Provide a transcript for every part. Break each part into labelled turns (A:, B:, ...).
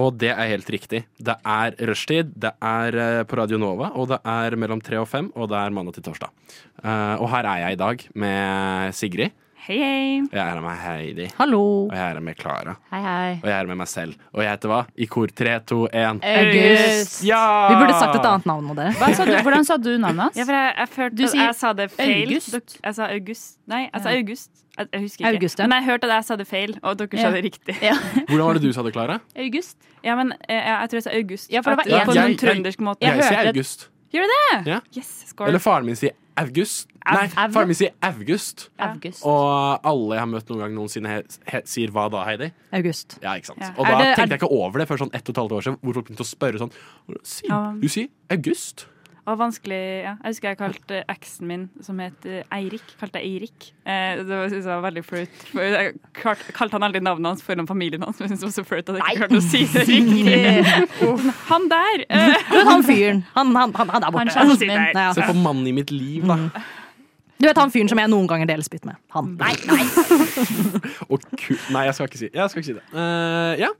A: Og det er helt riktig. Det er rushtid, det er eh, på Radio Nova, og det er mellom tre og fem, og det er mandag til torsdag. Eh, og her er jeg i dag med Sigrid,
B: Hei, hei.
A: og jeg er her med Heidi,
C: Hallo.
A: og jeg er her med Klara,
C: Hei, hei. Eh.
A: og jeg er her med meg selv. Og jeg heter hva? I kor 3, 2, 1.
C: August.
A: Ja!
C: Vi burde sagt et annet navn nå, dere.
B: Hva sa du, hvordan sa du navnet
D: Ja,
B: hans?
D: for jeg, jeg følte
B: Du
D: at
B: sier
D: jeg sa det feil.
B: august.
D: Dok- jeg sa august. Nei, jeg sa
C: Ja.
D: august. Jeg, jeg husker ikke.
C: August, ja.
D: Men jeg hørte at jeg sa det feil, og dere
B: Ja.
D: sa det riktig.
B: Ja.
A: Hvordan var det du sa det, Klara?
B: August.
D: Ja, men eh, jeg, jeg tror jeg sa august.
B: Ja, for det var
D: At-
B: en-
D: På
A: Jeg-
D: noen
A: jeg-
D: trøndersk måte.
B: jeg
A: Jeg sier
B: hørte-
A: August.
B: Gjør du det?
D: Yes, skål.
A: Eller faren min sier August. Nei,
B: Av-
A: faren min sier August.
B: August.
A: Og alle jeg har møtt noen gang noensinne, he- he- sier hva da, Heidi?
C: August.
A: Ja, ikke sant?
D: Ja.
A: Og
C: Er
A: da
C: det- er-
A: tenkte jeg ikke over det før sånn ett og et halvt år siden, hvor folk begynte å spørre sånn si,
D: Ja.
A: Du sier august?
D: Og vanskelig ja. Jeg husker jeg kalte eksen min, som het eh, Eirik, kalte jeg Eirik. Eh, det var- synes jeg var veldig flaut. For Jeg kalte, kalte han aldri navnet hans foran familien hans, men jeg syntes det var så flaut at jeg ikke klarte å si det riktig. Sånn, Han der! eh,
C: Men han fyren, han, han, han, han er
B: Han
C: borte.
B: kjæresten min.
C: Nei, ja.
A: Se på mannen i mitt liv, da.
C: Du vet han fyren som jeg noen ganger deler spytt med? Han. Nei, nei.
A: Og ku Nei, jeg skal ikke si, jeg skal ikke si det. Eh, ja.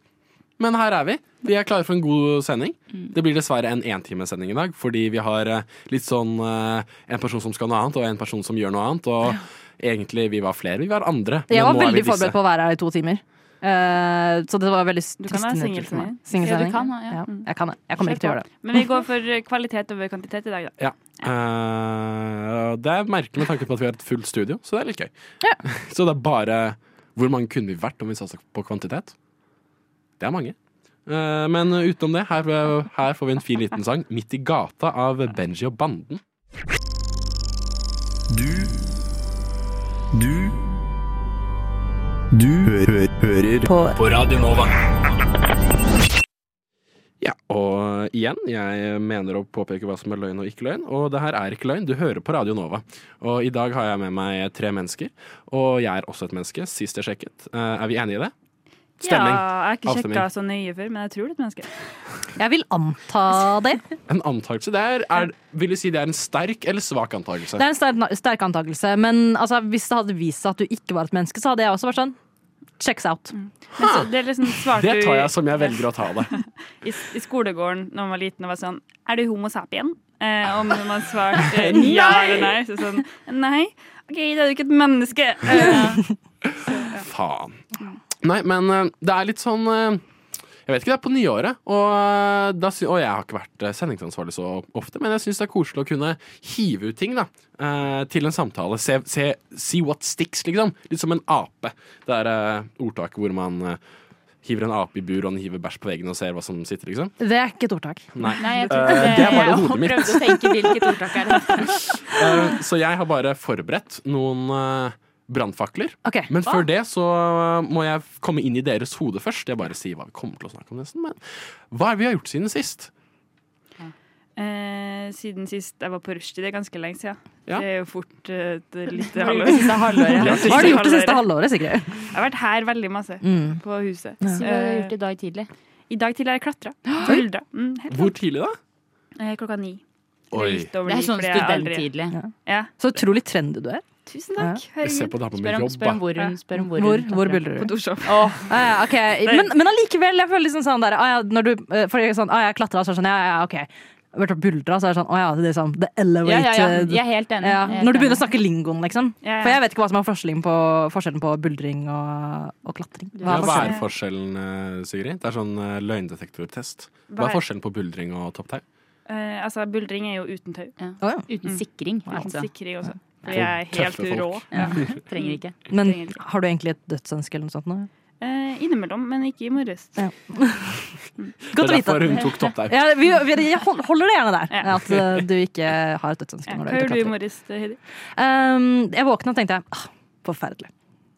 A: Men her er vi. Vi er klare for en god sending.
C: Mm.
A: Det blir dessverre en entimesending i dag, fordi vi har eh, litt sånn eh, en person som skal noe annet, og en person som gjør noe annet. Og egentlig, vi var flere. Vi var andre.
C: Jeg
A: men
C: var
A: nå er vi
C: veldig
A: disse.
C: forberedt på å være her i to timer. Eh, så det var veldig
D: Du
C: trist
D: kan være
C: nøkkel for
D: singelsending.
C: meg.
B: Ja,
C: Singelsending.
B: du kan, ja.
C: Ja, Mm. jeg kan det. Jeg kommer ikke til å gjøre det.
D: Men vi går for eh, kvalitet over kvantitet i dag, da.
A: Ja. Eh, det er merkelig med tanke på at vi har et fullt studio, så det er litt gøy. Så det er bare Hvor mange kunne vi vært om vi satsa på kvantitet? Det er mange. Eh, men utenom det, her, her får vi en fin liten sang. 'Midt i gata' av Benji og Banden.
E: Du Du Du hø hø hører på. Radio Nova.
A: Ja, og igjen, jeg mener å påpeke hva som er løgn og ikke løgn, og det her er ikke løgn, du hører på Radio Nova. Og i dag har jeg med meg tre mennesker, og jeg er også et menneske, sist jeg sjekket. Eh, er vi enige i det? Stemning.
D: Ja, jeg har ikke sjekka
A: Avstemning.
D: så nøye før, men jeg tror det er et menneske.
C: Jeg vil anta det.
A: En antakelse. Det er, er, vil du si det er en sterk eller svak antakelse?
C: Det er en sterk, sterk antakelse. Men altså, hvis det hadde vist seg at du ikke var et menneske, så hadde jeg også vært sånn Checks out.
D: Men så, det er liksom
A: Ah.
D: svarte
A: Det tar
D: du
A: jeg som jeg velger å ta det.
D: i, I skolegården når man var liten og var sånn Er du homo sapien? Eh, og når man svarte eh, ja eller nei, så sånn Nei. OK, da er du ikke et menneske. Eh,
A: Faen. Nei, men eh, det er litt sånn eh, Jeg vet ikke, det er på nyåret. Og, eh, da, sy- og jeg har ikke vært eh, sendingsansvarlig så ofte, men jeg syns det er koselig å kunne hive ut ting da eh, til en samtale. Se, se, see what sticks, liksom. Litt som en ape. Det er eh, ordtaket hvor man eh, hiver en ape i bur, og den hiver bæsj på veggen og ser hva som sitter, liksom.
C: Det er ikke et ordtak.
A: Nei.
B: Nei, jeg
A: Eh,
B: tror ikke
A: det er bare hodet mitt.
B: Jeg prøvde å tenke hvilket ordtak er det.
A: Eh, så jeg har bare forberedt noen eh, brannfakler.
C: Ok.
A: Men før det så eh, må jeg komme inn i deres hode først. Jeg bare sier hva vi kommer til å snakke om nesten. Men hva er det vi har gjort siden sist?
D: eh, siden sist jeg var på rushtid, det er ganske lenge siden.
A: Ja.
D: Det er jo fort eh, et lite
B: Hva har du
D: halvår.
B: gjort det siste halvåret?
A: Ja.
C: Hva har du gjort det siste halvåret, Sigrid?
D: Jeg har vært her veldig masse.
A: Mm.
D: På huset.
B: Si hva du har gjort i dag tidlig.
D: Eh, I dag tidlig har jeg klatra. Uldra. Mm, helt
A: Hvor tidlig da?
D: eh, klokka ni.
A: Oi.
D: Litt over
B: Det er
D: ni,
B: sånn
D: fordi jeg aldri-
B: studenttidlig.
D: Ja.
C: Så utrolig trendy du er.
D: Tusen takk.
A: Jeg ser
D: Herregud.
A: på dama med
B: Spør om,
A: jobb, da.
B: spør om hvor hun spør om hvor
C: Hvor,
B: hun tar
C: hvor
B: fra.
C: buller
D: På
C: du?
D: Torshov.
C: Ah, Ja, ja, ok. Men, men allikevel, jeg føler liksom sånn der ah, ja, når du, eh, For jeg, er sånn, ah, jeg klatra, så er det sånn Ja, ja, ok. Jeg Vært og buldra, så er det sånn Å ja, det er sånn The
B: Ja, ja, ja.
C: elevated
B: Jeg er helt enig.
C: Ja,
B: Jeg er helt
C: Når du begynner å
B: enig.
C: snakke lingoen, liksom.
D: Ja, ja.
C: For jeg vet ikke hva som er forskjellen på, forskjellen på buldring og, og klatring.
A: Ja,
C: Hva er
A: hva
C: forskjellen?
A: er forskjellen, eh, Sigrid? Det er sånn eh, løgndetektortest. Hva
D: Hva
A: er
D: er-
A: forskjellen på buldring og topptau?
D: Eh, altså, buldring er jo uten tau.
C: Å, ja.
B: Mm. Uten sikring.
D: Uten
B: Altså.
D: sikring også. Fordi jeg er helt
A: Tøffe folk.
D: rå.
B: Ja. Trenger ikke.
C: Men
D: trenger ikke.
C: har du egentlig et dødsønske eller noe sånt? Nå?
D: Eh, innimellom, men ikke i morges.
C: Ja.
A: Det
C: Godt
A: er
C: å vite.
A: derfor hun tok topptau.
C: Ja, vi, vi, jeg hold- holder det gjerne der,
D: Ja.
C: at eh, du ikke har et dødsønske
D: Ja.
C: når
D: Hva
C: du er ute
D: gjorde
C: og
D: du i
C: klatrer.
D: morges, Heidi?
C: Um, jeg våkna og tenkte ah, forferdelig.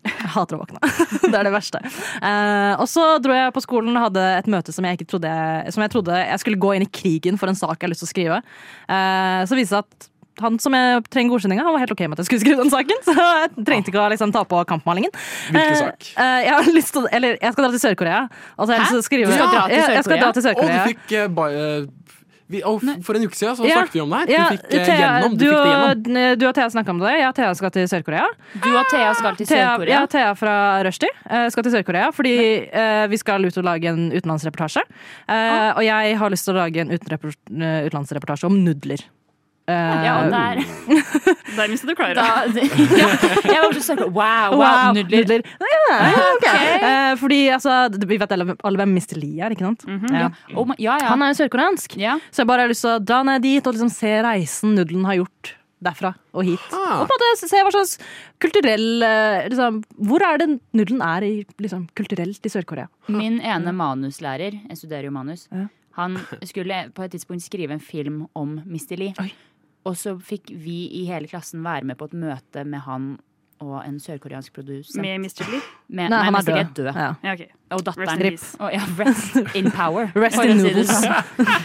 C: Jeg hater å våkne. det er det verste. Eh, og så dro jeg på skolen og hadde et møte som jeg, ikke trodde, som jeg trodde jeg skulle gå inn i krigen for en sak jeg har lyst til å skrive. Eh, så viste det seg at han som jeg trenger godkjenning av, var helt ok med at jeg skulle skrive den saken. Så jeg trengte ikke å liksom, ta på kampmalingen.
A: Hvilken sak?
C: Eh, eh, jeg, har lyst til, å- eller, jeg skal dra til Sør-Korea. Altså, jeg har lyst til å skrive
B: Du skal dra til
C: Ja, jeg skal dra til
A: Og du
C: Sør-Korea.
A: fikk eh, ba- eh, vi, og f- For en uke siden så
C: Ja.
A: snakket vi om det her.
C: Ja,
A: Du fikk eh,
C: Thea,
A: gjennom. Du
C: du,
A: fikk det gjennom.
C: og- eh, du og Thea snakka om det. Jeg og Thea skal til Sør-Korea.
B: Du og Thea skal til
C: Thea, ja,
B: Sør-Korea.
C: Thea fra Rushdie eh, skal til Sør-Korea fordi eh, vi skal ut og lage en utenlandsreportasje. Eh,
B: Ah.
C: Og jeg har lyst til å lage en utenrepor- eh, utenlandsreportasje om nudler. Eh,
B: Ja, og der
D: Der mista du Klara.
B: da, ja, Jeg var på Sør-Korea. Wow, wow,
C: Wow,
B: nudler.
C: nudler. Ja, ok.
B: Ok.
C: Eh, fordi altså, d- vi vet alle, alle hvem Mr. Lee er, ikke sant? ja.
B: Oh my, ja, ja.
C: Han er jo sørkoreansk,
B: ja.
C: så jeg bare har lyst til å dra ned dit og liksom se reisen nudelen har gjort derfra og hit.
A: Ah.
C: Og på en måte se hva slags kulturell eh, liksom, Hvor er det nudelen er i, liksom, kulturelt i Sør-Korea?
B: Min ene manuslærer, jeg studerer jo manus,
C: Ja.
B: han skulle på et tidspunkt skrive en film om Mr. Lee.
C: Oi.
B: Og så fikk vi i hele klassen være med på et møte med han og en sørkoreansk produsent.
D: Med Mr. Lee.
B: Med-
C: Nei, han er
B: Mr. Lee
C: død. Ja.
D: Ja, ok.
B: Og datteren.
D: Rest in peace.
B: Å, ja, rest in power.
C: Rest
B: for
C: in
B: å si det
C: noodles.
B: sånn.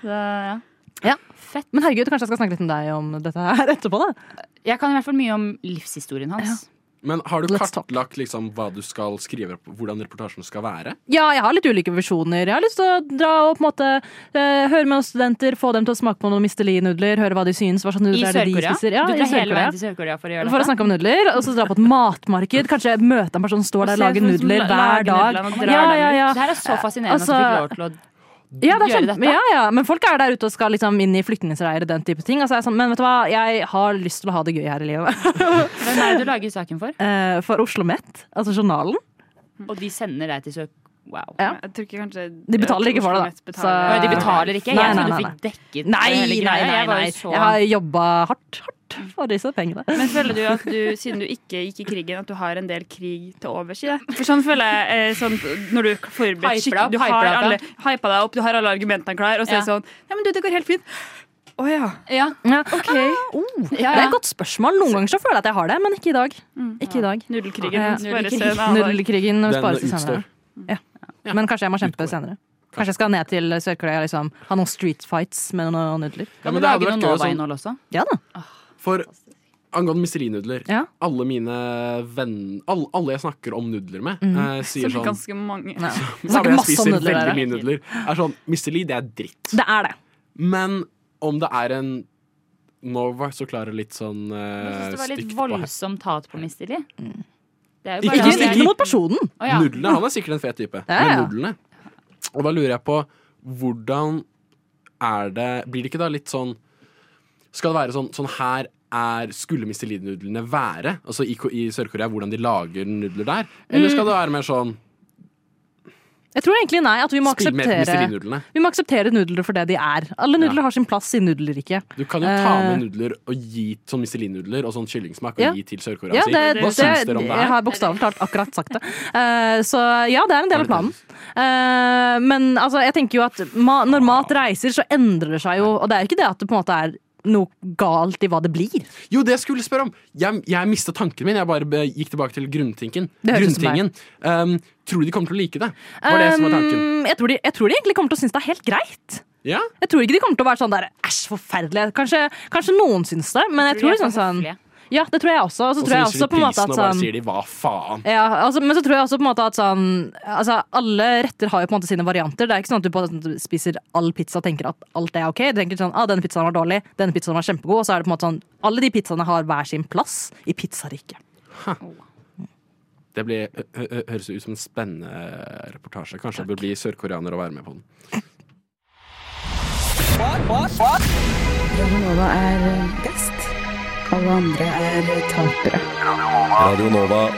B: Så, ja.
C: Ja.
B: Fett.
C: Men herregud, kanskje jeg skal snakke litt med deg om dette her etterpå, da?
B: Jeg kan i hvert fall mye om livshistorien hans.
A: Men har du
C: Let's talk.
A: kartlagt liksom, hva du skal skrive, hvordan reportasjen skal være?
C: Ja, jeg har litt ulike visjoner. Jeg har lyst til å dra og på en måte eh, høre med oss studenter, få dem til å smake på noen Mr. Lee-nudler, høre hva de syns, hva slags
B: I
C: nudler er det de
B: Sør-Korea.
C: spiser. Ja, i
B: du drar hele
C: Sør-Korea.
B: veien til Sør-Korea for å gjøre
C: For å
B: dette?
C: snakke om nudler, og så dra på et matmarked. Kanskje møte en person som står der og
D: Og se
C: lager
D: folk som
B: sånn
C: nudler
D: la-
C: hver
D: lager
C: dag.
D: nudlene og drar
C: Ja,
D: dem
C: ja, ja.
B: Det her er så fascinerende
C: Altså-
B: at du fikk lov til å
C: Ja, det er
B: gjøre
C: kjempe-
B: dette?
C: ja, ja, men folk er der ute og skal liksom inn i flyktningleirer og den type ting. Og så er jeg sånn, men vet du hva, jeg har lyst til å ha det gøy her i livet.
B: Hvem er det du lager saken for?
C: Eh, For Oslo Met, altså journalen,
B: Og de sender deg til Sør... Wow.
C: Ja.
D: Jeg tror ikke kanskje
C: De betaler ikke for det, da.
D: Oslo Met betaler.
B: Oi, de betaler ikke?
C: Nei, nei,
B: Jeg trodde du
C: nei,
B: fikk dekket
C: Nei,
B: hele
C: nei,
B: greia.
C: nei,
B: Jeg var
C: nei.
B: jo så
C: Jeg har jobba hardt, hardt for disse pengene.
D: Men føler du at du, siden du ikke gikk i krigen, at du har en del krig til overs i deg? For sånn føler jeg eh, sånn, når du forbereder
B: Hyper deg opp,
D: skikkelig Du
B: hyper
D: har
B: deg opp,
D: alle, hypa deg opp, du har alle argumentene klare, og så er det
B: Ja.
D: sånn Ja, men du, det går helt fint. Å ja.
B: ja.
C: Ja.
D: OK.
B: Ja,
C: Det er
B: ja.
C: et godt spørsmål. Noen ganger så føler jeg at jeg har det, men ikke i dag. Ikke i dag. Eh,
D: Nudelkrigen.
C: Ja.
D: Bare se en annen dag.
C: Nullkrigen
A: Den
C: spares til
A: utstår.
C: senere. Ja. Men kanskje jeg må kjempe
A: Utgår.
C: senere. Kanskje jeg skal ned til Sør-Korea og liksom, ha noen street fights med noen nudler.
A: Ja, men
B: Kan du
A: det hadde
B: lage
A: vært
B: noe
A: gøy å sånn,
B: Nova-innhold også?
C: Ja da.
A: For angående mistelinudler
C: Ja.
A: Alle mine venn- alle, alle jeg snakker om nudler med,
C: Mhm.
A: eh, sier
D: Som
A: sånn
D: er ganske mange.
C: Ja.
A: Alle
C: Snakker
A: jeg
C: masse om
A: spiser
C: nudler.
A: veldig
C: dere.
A: mye nudler. Er sånn Mr. Lee, det er dritt.
C: Det er det.
A: Men om det er en Nå var jeg så klar og litt sånn
B: Jeg
A: eh,
B: synes det var litt
A: stygt på her.
B: voldsomt hat på Mr. Lee. Det er jo
A: Ikke
B: bare
C: Ikke,
A: det er-
C: ikke noe mot personen.
B: Å, ja.
A: Nudlene, han er sikkert en fet type.
C: Ja, ja.
A: Men nudlene Og da lurer jeg på hvordan er det Blir det ikke da litt sånn Skal det være sånn Sånn her er skulle Mr. Lee-nudlene være? Altså i, Ko- i Sør-Korea, hvordan de lager nudler der? Eller skal det
C: Mm.
A: være mer sånn
C: Jeg tror egentlig nei, at vi må
A: Spill med Mr.
C: akseptere
A: Lee-nudlene.
C: vi må akseptere nudler for det de er. Alle nudler
A: Ja.
C: har sin plass i nudlerriket.
A: Du kan jo ta
C: Eh.
A: med nudler og gi sånn Mr. Lee-nudler og sånn kyllingsmak og
C: Ja.
A: gi til Sør-Korea.
C: Ja,
A: og si,
C: det, det,
A: Hva syns dere om det
C: jeg
A: her?
C: har bokstavelig talt akkurat sagt det. Eh, så ja, det er en del av planen. Eh, men altså, jeg tenker jo at ma når mat reiser, så endrer det seg jo. Og det er jo ikke det at det på en måte er noe galt i hva det blir.
A: Jo, det jeg skulle spørre om! Jeg, jeg mista tanken min. Jeg bare be- gikk tilbake til grunntinken.
C: Det høres ut som
A: Grunntingen. Um, tror du de kommer til å like det? Var det som var tanken.
C: Um, jeg, tror de, jeg tror de egentlig kommer til å synes det er helt greit.
A: Ja?
C: Jeg tror ikke de kommer til å være sånn der æsj, forferdelig. Kanskje, kanskje noen syns det, men jeg tror liksom sånn Ja, det tror jeg også. Og
A: Og
C: så
A: så
C: tror jeg
A: viser
C: også
A: de
C: på en måte
A: prisen
C: at
A: og bare
C: sånn
A: sier de 'hva faen'.
C: Ja, altså, men så tror jeg også på en måte at sånn altså, Alle retter har jo på en måte sine varianter. Det er ikke sånn at du på en måte spiser all pizza og tenker at alt er ok. Du tenker sånn, ah, denne pizzaen var dårlig, denne pizzaen var kjempegod. Og så er det på en måte sånn, Alle de pizzaene har hver sin plass i pizzariket.
A: Det blir, hø hø høres ut som en spennende reportasje. Kanskje jeg bør bli sørkoreaner og være med på den.
F: Radionova er best. Alle andre er tapere.
E: Radio Nova.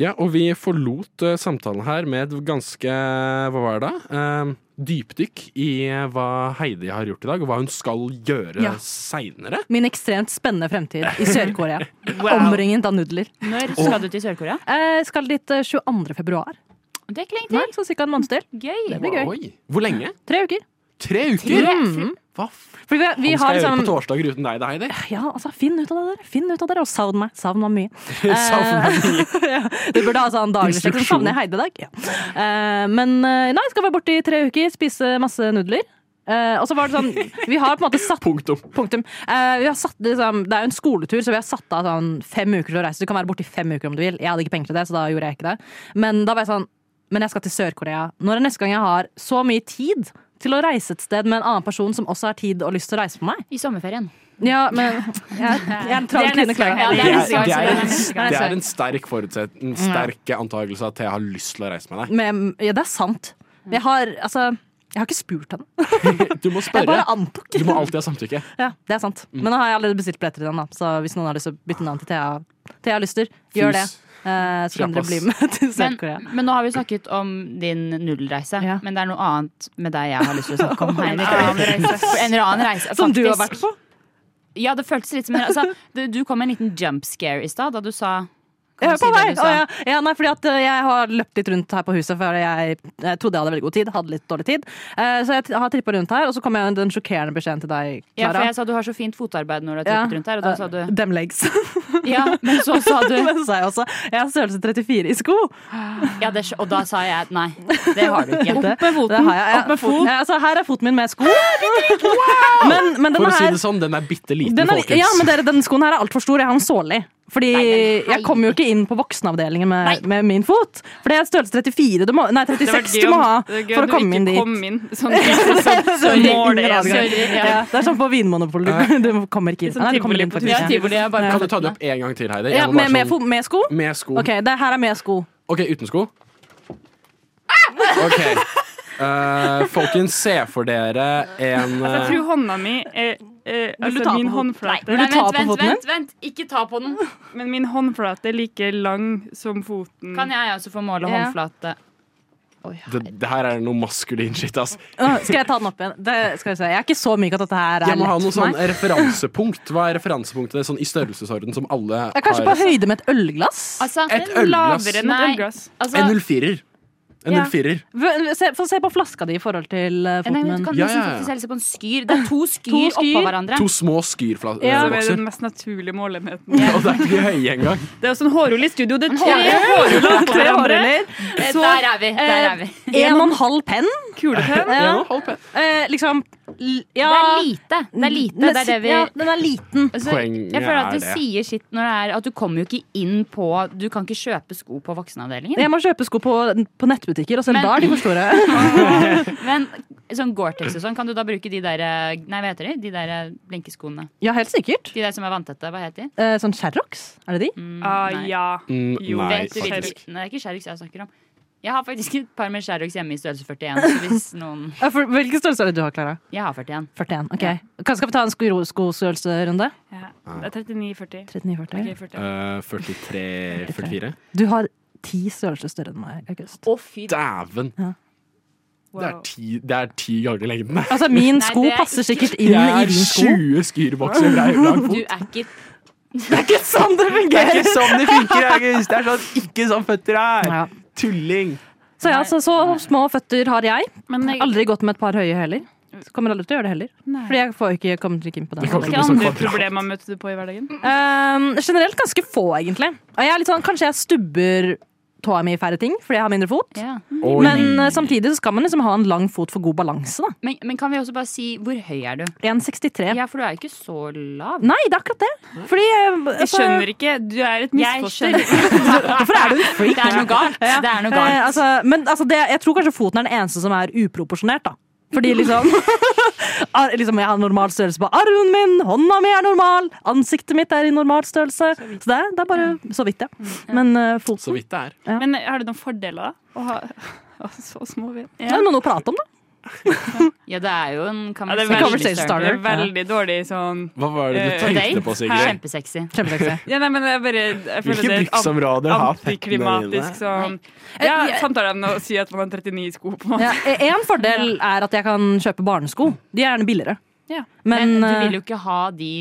A: Ja, og vi forlot eh, samtalen her med et ganske Hva var det da? Eh, dypdykk i eh, hva Heidi har gjort i dag, og hva hun skal gjøre
C: Ja.
A: seinere.
C: Min ekstremt spennende fremtid i Sør-Korea. Omringet av nudler.
B: Når skal du til Sør-Korea?
C: Eh, skal dit eh, 22. februar.
B: Det er ikke lenge
C: Nei, så ca. en måned til.
B: til. Gøy.
C: blir gøy.
A: Oi. Hvor lenge?
C: Tre uker.
A: Tre uker?!
C: Mm.
A: Hva faen
C: Fordi vi, vi
A: skal
C: har
A: jeg gjøre på
C: liksom
A: torsdager uten deg, det Heidi?
C: ja, altså, Finn ut av det der, Finn ut av det der, og savn meg. Savn meg mye. Eh,
A: Savner mye.
C: ja, du burde ha sånn daglig sjekk.
A: Instruksjon.
C: Savner jeg Heidi i dag? Ja. Eh, men eh, nei, skal være borte i tre uker, spise masse nudler. Eh, og så var det sånn Vi har på en måte satt
A: Punktum.
C: Punktum. Eh, vi har satt, liksom, det er jo en skoletur, så vi har satt av sånn fem uker til å reise. Du kan være borte i fem uker om du vil. Jeg hadde ikke penger til det, så da gjorde jeg ikke det. Men da var jeg sånn Men jeg skal til Sør-Korea. Når er neste gang jeg har så mye tid til å reise et sted med en annen person som også har tid og lyst til å reise med meg?
B: I sommerferien.
C: Ja, men Jeg, jeg er en travel
D: Det er neste
C: kvinne, Clara.
D: gang,
B: Ja,
D: Heidi.
A: Det
B: det er
A: er,
B: neste
A: det
B: gang, så det er
A: er,
B: neste gang.
A: det er en sterk forutset, en
C: Mm.
A: sterk antakelse at jeg har lyst til å reise med deg.
C: Men- Ja, det er sant.
B: Mm.
C: Jeg har altså Jeg har ikke spurt henne.
A: Du må
C: Jeg
A: spørre.
C: bare antok.
A: Du må alltid ha samtykke.
C: Ja, Mm. det er sant. Men nå har jeg allerede bestilt billetter til den, da. Så hvis noen har lyst til å bytte navn til Thea, Thea Lyster, gjør det.
A: Fus.
C: Eh, så kan
A: Slapp
C: dere
A: ass.
C: bli med til
B: Men,
C: Sør-Korea.
B: men nå har vi snakket om din nudelreise,
C: Ja.
B: men det er noe annet med deg jeg har lyst til å snakke om.
D: annen
B: Heidi. For En annen reise.
C: Som du har vært
B: faktisk.
C: på.
B: Ja, det føltes litt som en altså, du, du kom med en liten jump scare i stad da du sa
C: Jeg er
B: du si
C: på vei!
B: det du sa?
C: Å, ja. Ja, nei, fordi at eh, jeg har løpt litt rundt her på huset, for jeg eh, trodde jeg hadde veldig god tid. Hadde litt dårlig tid. Eh, så jeg t- har trippa rundt her, og så kom jeg med den sjokkerende beskjeden til deg,
B: Ja, for
C: Klara.
B: jeg sa du har så fint fotarbeid når du har
C: Ja. Eh,
B: trippet rundt her, og da sa du
C: Dem legs.
B: Ja, men så sa du
C: Men så sa jeg også jeg har størrelse 34 i sko.
B: ja, det, Og da sa jeg nei, det har du ikke.
C: med foten. Det har jeg. Opp med foten. Ja, altså, her er foten min med sko. Men, men
A: For
C: denne
A: å si
C: her
A: det sånn, den er bitte liten,
C: Den er,
A: folkens.
C: ja, men dere, den skoen her er altfor stor. Jeg har den sålig. Fordi
B: Nei, men hei.
C: jeg kom jo ikke inn på voksenavdelingen med, med min fot. For det er størrelse 34. Du må, nei,
D: Det var
C: 36
D: gøy
C: du må
D: om-
C: ha
D: det var gøy om
C: for å
D: du
C: komme inn
D: ikke
C: dit.
D: Kom inn, sånn, sånn, sånn, sånn mål
C: Ingen
D: er
C: adgang.
D: sånn.
B: Sorry, ja.
C: Ja, det er sånn på Vinmonopolet. Du kommer ikke inn.
D: Sånn
C: Nei, du kommer
D: tivoli
C: inn
D: på
C: faktisk.
D: tusen.
C: Ja.
B: Tivoli er bare
A: Kan du ta det opp en gang til, Heidi? Jeg
C: Ja,
A: må
C: med,
A: bare
C: med,
A: sånn-
C: fo- med sko?
A: med sko.
C: Ok, det her er med sko.
A: OK, uten sko. OK. Eh, folkens, se for dere en
D: Jeg
A: eh,
D: tror hånda mi er eh,
C: du
D: altså,
C: ta
D: Min
C: på foten?
D: håndflate
C: Vil du ta på foten din?
B: vent, ikke ta på den.
D: Men min håndflate er like lang som foten.
B: Kan jeg også få måle
C: Ja.
B: håndflate?
A: eh, det, det her er noe maskulin shit, ass.
C: Å, Skal jeg ta den opp igjen? Det, skal vi se. Jeg er ikke så myk at dette her er
A: Jeg må ha
C: lett
A: noe
C: for
A: sånn
C: meg.
A: referansepunkt. Hva er referansepunktet? Sånn i størrelsesorden som alle
C: Jeg er kanskje på høyde med et ølglass?
B: Altså,
A: Et ølglass.
D: Lavere enn et
B: Nei.
D: ølglass.
B: altså,
A: En 04-er. En
C: Ja.
A: 04-er.
C: V- Se, få se på flaska di i forhold til eh,
B: Nei,
C: foten
B: men
C: min.
B: du kan
A: Ja,
B: nesten
A: ja, ja.
B: faktisk helse på en sånn skyr. Det er to
C: skyr.
B: skyr, oppå hverandre.
A: To små skyrflasker.
C: Ja.
D: Som er den mest naturlige målenheten.
A: Og det er ikke de høye engang.
D: Det er også en hårrulle i studio. Det er tre
B: hårrulle.
D: hårruller på
C: Tre
D: hverandre.
C: hårruller.
B: Eh, Der er vi. Der er vi.
C: En og en halv penn.
D: Kulepenn.
C: Ja.
A: Ja, hold på.
C: Eh, liksom l-
B: Det er
C: ja,
B: lite. Det er lite. Det er det vi
C: Ja, den er liten.
B: Altså,
A: Poenget
B: jeg føler at
A: er
B: det
A: det.
B: sier sitt når det er at du kommer jo ikke inn på Du kan ikke kjøpe sko på voksenavdelingen.
C: Jeg må kjøpe sko på, på nettbutikker, og selv
B: Men-
C: da er de for store.
B: Men sånn Gore-Tex og sånn, kan du da bruke de der eh, Nei, hva heter de? De der eh, blinkeskoene.
C: Ja, helt sikkert.
B: De der som er vanntette. Hva heter de?
C: Eh, sånn Sherrox, er det de?
B: Mm,
D: Ah,
B: nei.
D: ja.
A: Mm,
D: Jo,
A: nei,
B: Vet du hvilke-
A: faktisk.
B: Nei, det er ikke Sherrox jeg snakker om. Jeg har faktisk et par med Sherrox hjemme i størrelse 41. Så hvis noen
C: Ja, Eh, for, hvilken størrelse er det du har, Klara?
B: Jeg har 41.
C: 41. ok. Kan, skal vi ta en sko- skostørrelserunde?
D: ja.
A: Ah.
D: Det er 39,40.
C: 39-40.
D: Ok, 40.
A: Eh, 43 44?
C: Du har ti størrelser større enn meg, August.
B: Å, fy
A: Dæven!
D: Wow.
A: Det er ti, det er ti ganger lengden.
C: Altså, min
B: Nei,
C: sko
B: det er
C: passer
B: ikke-
C: sikkert inn
A: Jeg
C: i
A: er
C: din sko.
A: 20 skyrbokser fra Aurland.
B: Du er ikke
C: Det er ikke sånn det fungerer!
A: sånn det funker, August! Det er sånn, ikke sånn føtter er!
C: Ja.
A: Tulling!
C: Så ja, så, så små føtter har jeg.
D: Men jeg,
C: Aldri gått med et par høye heller. Så Kommer aldri til å gjøre det heller. Fordi jeg får ikke, kommer ikke inn på den.
A: kommer til å bli
D: hvilke
A: sånn
D: andre
A: kvadrat.
D: problemer møter du på i hverdagen?
C: Um, generelt ganske få, egentlig. Og jeg er litt sånn, kanskje jeg stubber tåa mi i færre ting fordi jeg har mindre fot.
B: ja.
A: Oi.
C: Men uh, samtidig så skal man liksom ha en lang fot for god balanse. da
B: men, men kan vi også bare si hvor høy er du?
C: 1,63.
B: Ja, for du er jo ikke så lav.
C: Nei, det er akkurat det! Fordi uh,
D: Jeg
C: altså,
D: skjønner ikke. Du er et misforstått.
B: Hvorfor er du en freak? Eh, Det er noe galt. Det er noe
C: uh,
B: galt.
C: altså, Men altså, det, jeg tror kanskje foten er den eneste som er uproporsjonert, da. Fordi liksom, ar, liksom Jeg har normal størrelse på armen min, hånda mi er normal, ansiktet mitt er i normal størrelse. Så det, er- det er bare så vidt, ja.
B: Mm,
C: Men uh,
A: Så
C: foten
A: vidt det er.
D: Men har du noen fordeler, da? Å ha å, så små ben.
C: Det er jo noe å prate om, da.
B: Ja, det er jo en
D: Ja, det er
B: conversation
C: veldig-
D: Det
B: starter.
D: er veldig dårlig sånn
A: Hva var det du
D: Eh,
A: tenkte på, Sigrid?
B: Kjempesexy.
C: Kjempesexy.
D: Ja, nei, men jeg bare jeg føler
A: Hvilke
D: det er et ant-
A: bruksområder har føttene dine?
D: antiklimatisk sånn Ja, samtaler med å si at man har 39 i sko på.
C: Ja, e, en fordel er at jeg kan kjøpe barnesko. De er gjerne billigere.
D: Ja.
B: Men
C: Men,
B: du vil jo ikke ha de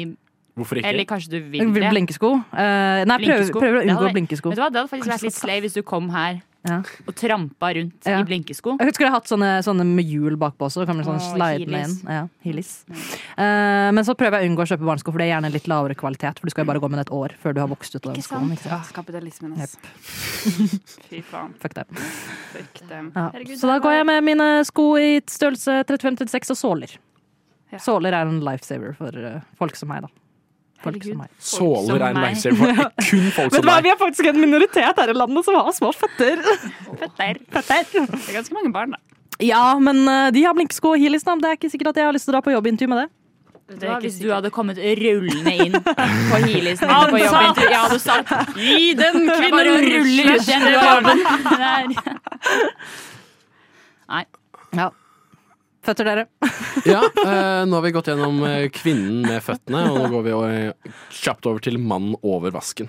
A: Hvorfor ikke?
B: Eller kanskje du
C: eh,
B: vil det.
C: blinkesko. Eh, nei, prøver,
B: Blinkesko.
C: prøver å
B: Det
C: unngå
B: hadde-
C: blinkesko.
B: Vet du hva, Det hadde faktisk
C: Kanskje
B: vært litt slay hvis du kom her
C: Ja.
B: og trampa rundt
C: Ja.
B: i blinkesko.
C: Jeg skulle jeg hatt sånne, sånne med hjul bakpå også. Kan man sånn
B: Åh,
C: slide den inn.
B: heelys.
C: Ja, heelys. Eh, men så prøver jeg å unngå å kjøpe barnesko, for det er gjerne litt lavere kvalitet. For du skal jo bare gå med den et år før du har vokst ut av den skoen. Ikke sant?
D: Ah, Kapitalismen, ass. Fy faen.
C: Fuck det.
D: Fuck dem.
C: Ja.
D: Herregud,
C: Så da
D: det
C: går
D: var-
C: jeg med mine sko i størrelse 35-36 og såler.
D: Ja.
C: Såler er en lifesaver for eh, folk som meg, da. Folk
B: Herregud.
C: som meg.
A: Såler er
B: som
A: en
B: meg.
A: lifesaver for kun folk
C: Vet
A: som
C: du hva,
A: deg.
C: Vi er faktisk en minoritet her i landet som har små føtter.
D: Føtter.
C: føtter.
D: Det er ganske mange barn, da.
C: Ja, men eh, de har blinkesko og heelys, da. Det er ikke sikkert at jeg har lyst til å dra på jobbintervju med det.
B: Vet du
D: Det er
B: hva,
D: ikke
B: Hvis du
D: sikkert.
B: hadde kommet rullende inn på heelisen din på jobben Jeg hadde sagt 'gi den kvinnen bare å rulle ut igjen fra jobben'. Der. Nei.
C: Ja. Føtter, dere.
A: Ja, eh, nå har vi gått gjennom eh, kvinnen med føttene, og nå går vi eh, kjapt over til mannen over vasken.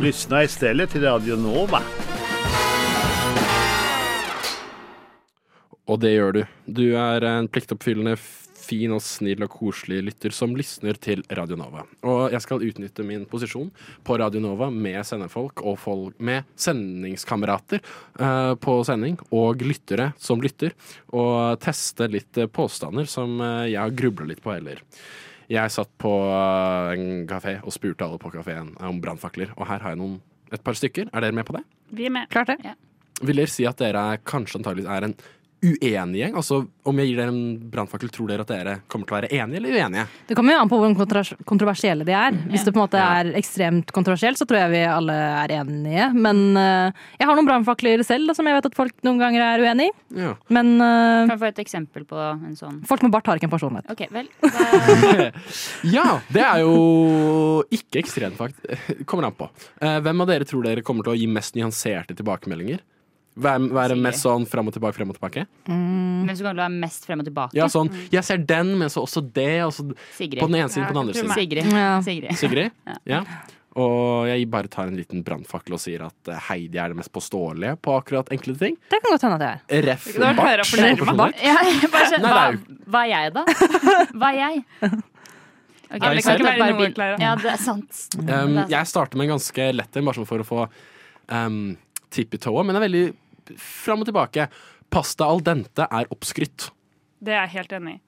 G: Lyssna istället till Radio Nova.
A: Og det gjør du. Du er en pliktoppfyllende, fin og snill og koselig lytter som lysner til Radio Nova. Og jeg skal utnytte min posisjon på Radio Nova med sendefolk og folk med sendingskamerater eh, på sending, og lyttere som lytter, og teste litt eh, påstander som eh, jeg har grubla litt på heller. Jeg satt på eh, en kafé og spurte alle på kafeen om brannfakler, og her har jeg noen, et par stykker. Er dere med på det?
D: Vi er med.
C: Klart det.
A: vil dere si at dere er- kanskje antagelig er en uenig gjeng? Altså, om jeg gir dere en brannfakkel, tror dere at dere kommer til å være enige eller uenige?
C: Det kommer jo an på hvor kontrovers- kontroversielle de er. Hvis det på en måte er ekstremt kontroversielt, så tror jeg vi alle er enige. Men eh, jeg har noen brannfakler selv da, som jeg vet at folk noen ganger er uenig i.
A: Ja.
C: Men eh,
B: Kan jeg få et eksempel på en sånn?
C: folk med bart har ikke en personlighet.
B: OK, vel. Da,
A: det er jo ikke ekstremt, faktisk. Kommer an på. Eh, Hvem av dere tror dere kommer til å gi mest nyanserte tilbakemeldinger? Hvem, være mest sånn fram og tilbake, frem og tilbake?
B: men så kan du ha mest frem og tilbake.
A: Ja, sånn jeg ser den, men så også det. Og så
B: Sigrid.
A: på den ene siden, på den andre siden.
B: Sigrid.
C: Ja.
B: Sigrid.
A: Sigrid? Ja. Og jeg bare tar en liten brannfakkel og sier at eh, Heidi er det mest påståelige på akkurat enkelte ting.
C: Det kan godt hende at jeg er.
A: Ref.
D: Det var flere
A: bart.
D: fornærmet.
A: Personlighet.
B: Ja, jeg bare skjønner,
A: Nei, det
B: hva, hva er jeg, da? Hva er jeg?
A: Er
B: Ok, det
A: jeg
B: kan
A: selv?
B: ikke være
D: Noe,
B: bil-
D: Clara.
B: Ja, det er sant.
A: Um,
B: Det er sant.
A: jeg starter med en ganske lett en, bare sånn for å få um, tipp i tåa, men det er veldig fram og tilbake. Pasta al dente er oppskrytt.
D: Det er jeg helt enig i.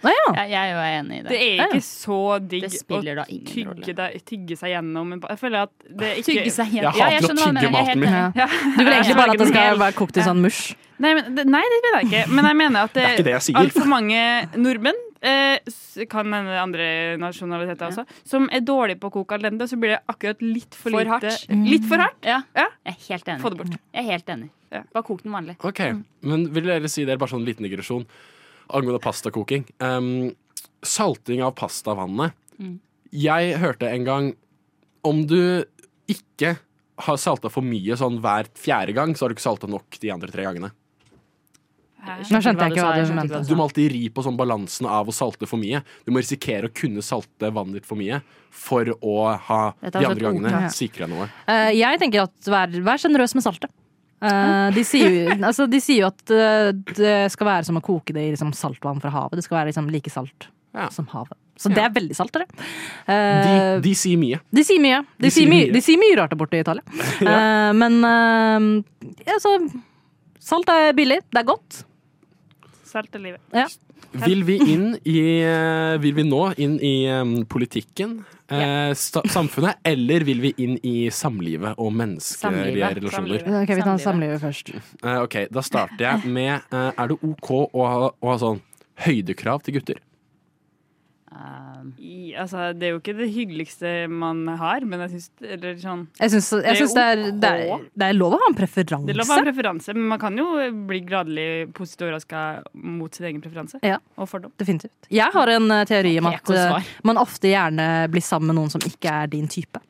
C: Nei, ja.
B: Jeg, jeg er jo enig i
D: Det
B: det.
D: er ikke så digg
B: Det spiller da ingen
D: tygge,
B: rolle.
D: deg, tygge seg gjennom en ba- Jeg føler at det er
B: Tygge
D: ikke
B: seg helt.
A: Jeg hater å
B: skjønner
A: tygge
B: hva du mener. Jeg er
A: maten
B: helt
A: min.
B: enig.
D: Ja.
C: Du vil egentlig bare at det skal
D: Helt-
C: være kokt i sånn mush.
D: Nei, men, det- nei, det mener jeg ikke. Men jeg mener at
A: Det er ikke det jeg sier.
D: altfor mange nordmenn, eh, s- kan hende andre nasjonaliteter også, som er dårlige på å koke al dente, så blir det akkurat litt for,
B: For
D: lite Mm.
B: hardt.
D: Litt for hardt.
B: Ja,
D: Ja.
B: jeg er helt enig.
D: Få det bort.
B: Jeg er helt enig.
D: Ja.
B: Bare kok den vanlig.
A: Ok, Men vil dere si dere bare sånn liten digresjon angående pastakoking? Um, salting av pastavannet. Jeg hørte en gang om du ikke har salta for mye sånn hver fjerde gang, så har du ikke salta nok de andre tre gangene.
C: Nå skjønte jeg ikke hva
B: sa, jeg
C: du
B: skjønte
C: mente.
B: ikke hva
A: Du
B: sa.
A: må alltid ri på sånn balansen av å salte for mye. Du må risikere å kunne salte vannet ditt for mye for å ha
B: Dette er
A: de andre
B: altså et
A: gangene
C: ordtak.
A: sikra noe.
C: Eh, jeg tenker at vær, vær sjenerøs med saltet. Eh, de, sier jo, altså, de sier jo at eh, det skal være som å koke det i liksom, saltvann fra havet. Det skal være liksom, like salt
A: Ja.
C: som havet. Så det er veldig salt. det.
A: De,
C: Eh,
A: de sier mye.
C: de sier mye. De, sier mye. de sier mye rart der borte i Italia. Eh, men eh, ja, så Salt er billig, det er godt.
D: Salt er livet.
C: Ja.
A: Vil vi, inn i, eh, vil vi nå inn i eh, politikken, eh, sta samfunnet, eller vil vi inn i samlivet og menneskelige
B: Samlivet.
A: relasjoner?
D: Samlivet.
C: Eh, Ok, Vi tar
B: Samlivet.
C: samlivet først.
A: Eh, ok, Da starter jeg med eh, Er det OK å ha, å ha sånn høydekrav til gutter?
H: Eh,
B: Um,
D: I, altså, det er jo ikke det hyggeligste man har, men jeg syns Eller sånn
C: Jeg syns, jeg
D: Det er
C: syns det, er, det, er,
D: ok.
C: det er lov å ha en
D: Det er lov å
C: preferanse.
D: ha preferanse, men man kan jo bli gradelig positivt overraska mot sin egen preferanse.
C: Ja.
D: Og fordom.
C: Definitivt. Jeg har en eh, teori om at
B: Prekos
C: eh,
B: svar.
C: man ofte gjerne blir sammen med noen som ikke er din type.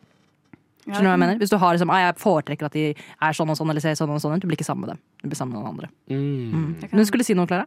C: Skjønner du
D: Ja.
C: hva jeg mener? Hvis du har liksom, «Ah, jeg foretrekker at de er sånn og sånn, eller ser sånn og sånn ut, du blir ikke sammen med dem. Du blir sammen med noen andre.
A: Mm.
D: Jeg kan-
C: Men du skulle si noe, Klara?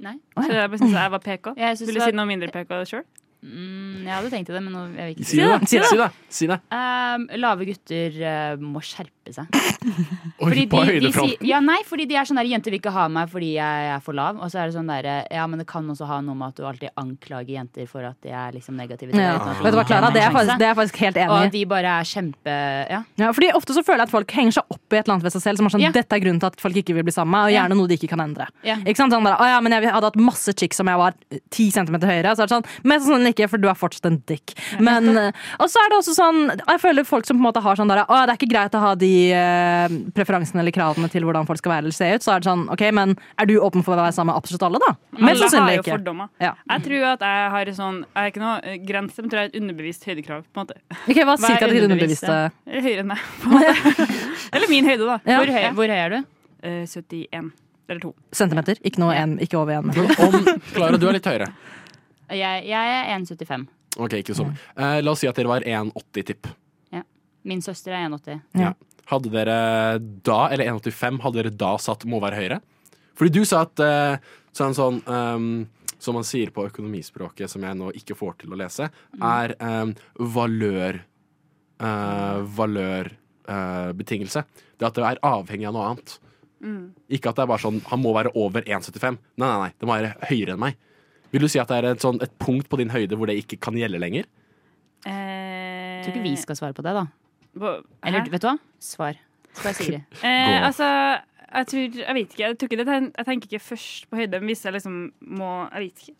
B: nei.
D: Så jeg bare synes jeg var PK.
B: Jeg synes
D: Vil
B: det
D: du
B: var-
D: si noe mindre PK sjøl?
B: Mm, jeg hadde tenkt det, men nå jeg vil ikke
A: Si det, da. Si det. Si det.
B: Um, lave gutter eh, må skjerpe
H: skjerpe seg.
A: Oi,
H: Fordi
A: på
H: de, de
A: høydefronten.
H: sier, ja, nei, fordi de er sånn der 'jenter vil ikke ha meg fordi jeg er for lav'. Og så er det sånn derre Ja, men det kan også ha noe med at du alltid anklager jenter for at de er liksom negative. til deg,
C: Ja.
H: uten at
C: Vet du
H: gir
C: hva, Clara,
H: dem
C: det er
H: en
C: jeg faktisk,
H: sjanse.
C: det er jeg faktisk helt
H: Og at
C: enig i.
H: de bare er kjempe Ja.
C: Ja, fordi Ofte så føler jeg at folk henger seg opp i et eller annet ved seg selv. Som er sånn,
H: Ja.
C: dette er grunnen til at folk ikke vil bli sammen med meg, og
H: Ja.
C: gjerne noe de ikke kan endre.
H: Ja.
C: Ikke sant? Sånn bare, «Å ja, men jeg hadde hatt masse chicks om jeg var 10 cm høyere. Så er det sånn, men sånn ikke, for du er fortsatt en dick. Men, eh, og så er det også sånn, jeg føler folk som på en måte har sånn der, «Å, det er ikke greit å ha de eh, preferansene eller kravene til hvordan folk skal være eller se ut. Så er det sånn, ok, men er du åpen for å være sammen med absolutt alle da? Men
D: Alle har
C: sannsynlig
D: jo
C: ikke.
D: fordommer.
C: Ja.
D: Jeg tror at jeg har sånn Jeg har ikke noe eh, grense, men tror jeg har et underbevisst høydekrav. på en måte
C: Ok, hva sier jeg til det
D: underbevisst,
C: underbevisste?
D: ja. Eller Høyere enn meg. på en måte. Eller min høyde, da.
C: Ja.
H: Hvor, høy, hvor høy er du?
D: Eh, 71. Eller 2.
C: Centimeter, ikke, noe en, ikke over en.
A: Men om Klara, du er litt høyere.
H: Jeg, jeg er 1,75.
A: Ok, ikke sånn. Eh, la oss si at dere var 1,80-tipp.
H: Min søster er 1,80.
A: Hadde dere da, eller 1,85, hadde dere da satt 'må være høyere'? Fordi du sa at eh, så er en sånn ehm, Som man sier på økonomispråket, som jeg nå ikke får til å lese, er ehm, valør eh, Valørbetingelse. det at det er avhengig av noe annet. Ikke at det er bare sånn 'han må være over 1,75'. Nei, nei, nei, det må være høyere enn meg. Vil du si at det er et, sånn, et punkt på din høyde hvor det ikke kan gjelde lenger?
D: Eh,
H: Jeg tror ikke vi skal svare på det, da.
D: Eller
H: Eller vet du hva? Svar. Svar Sigrid.
D: Eh, altså, jeg tror Jeg vet ikke. Jeg, tror ikke det, jeg tenker ikke først på høyde, men hvis jeg liksom må Jeg vet ikke.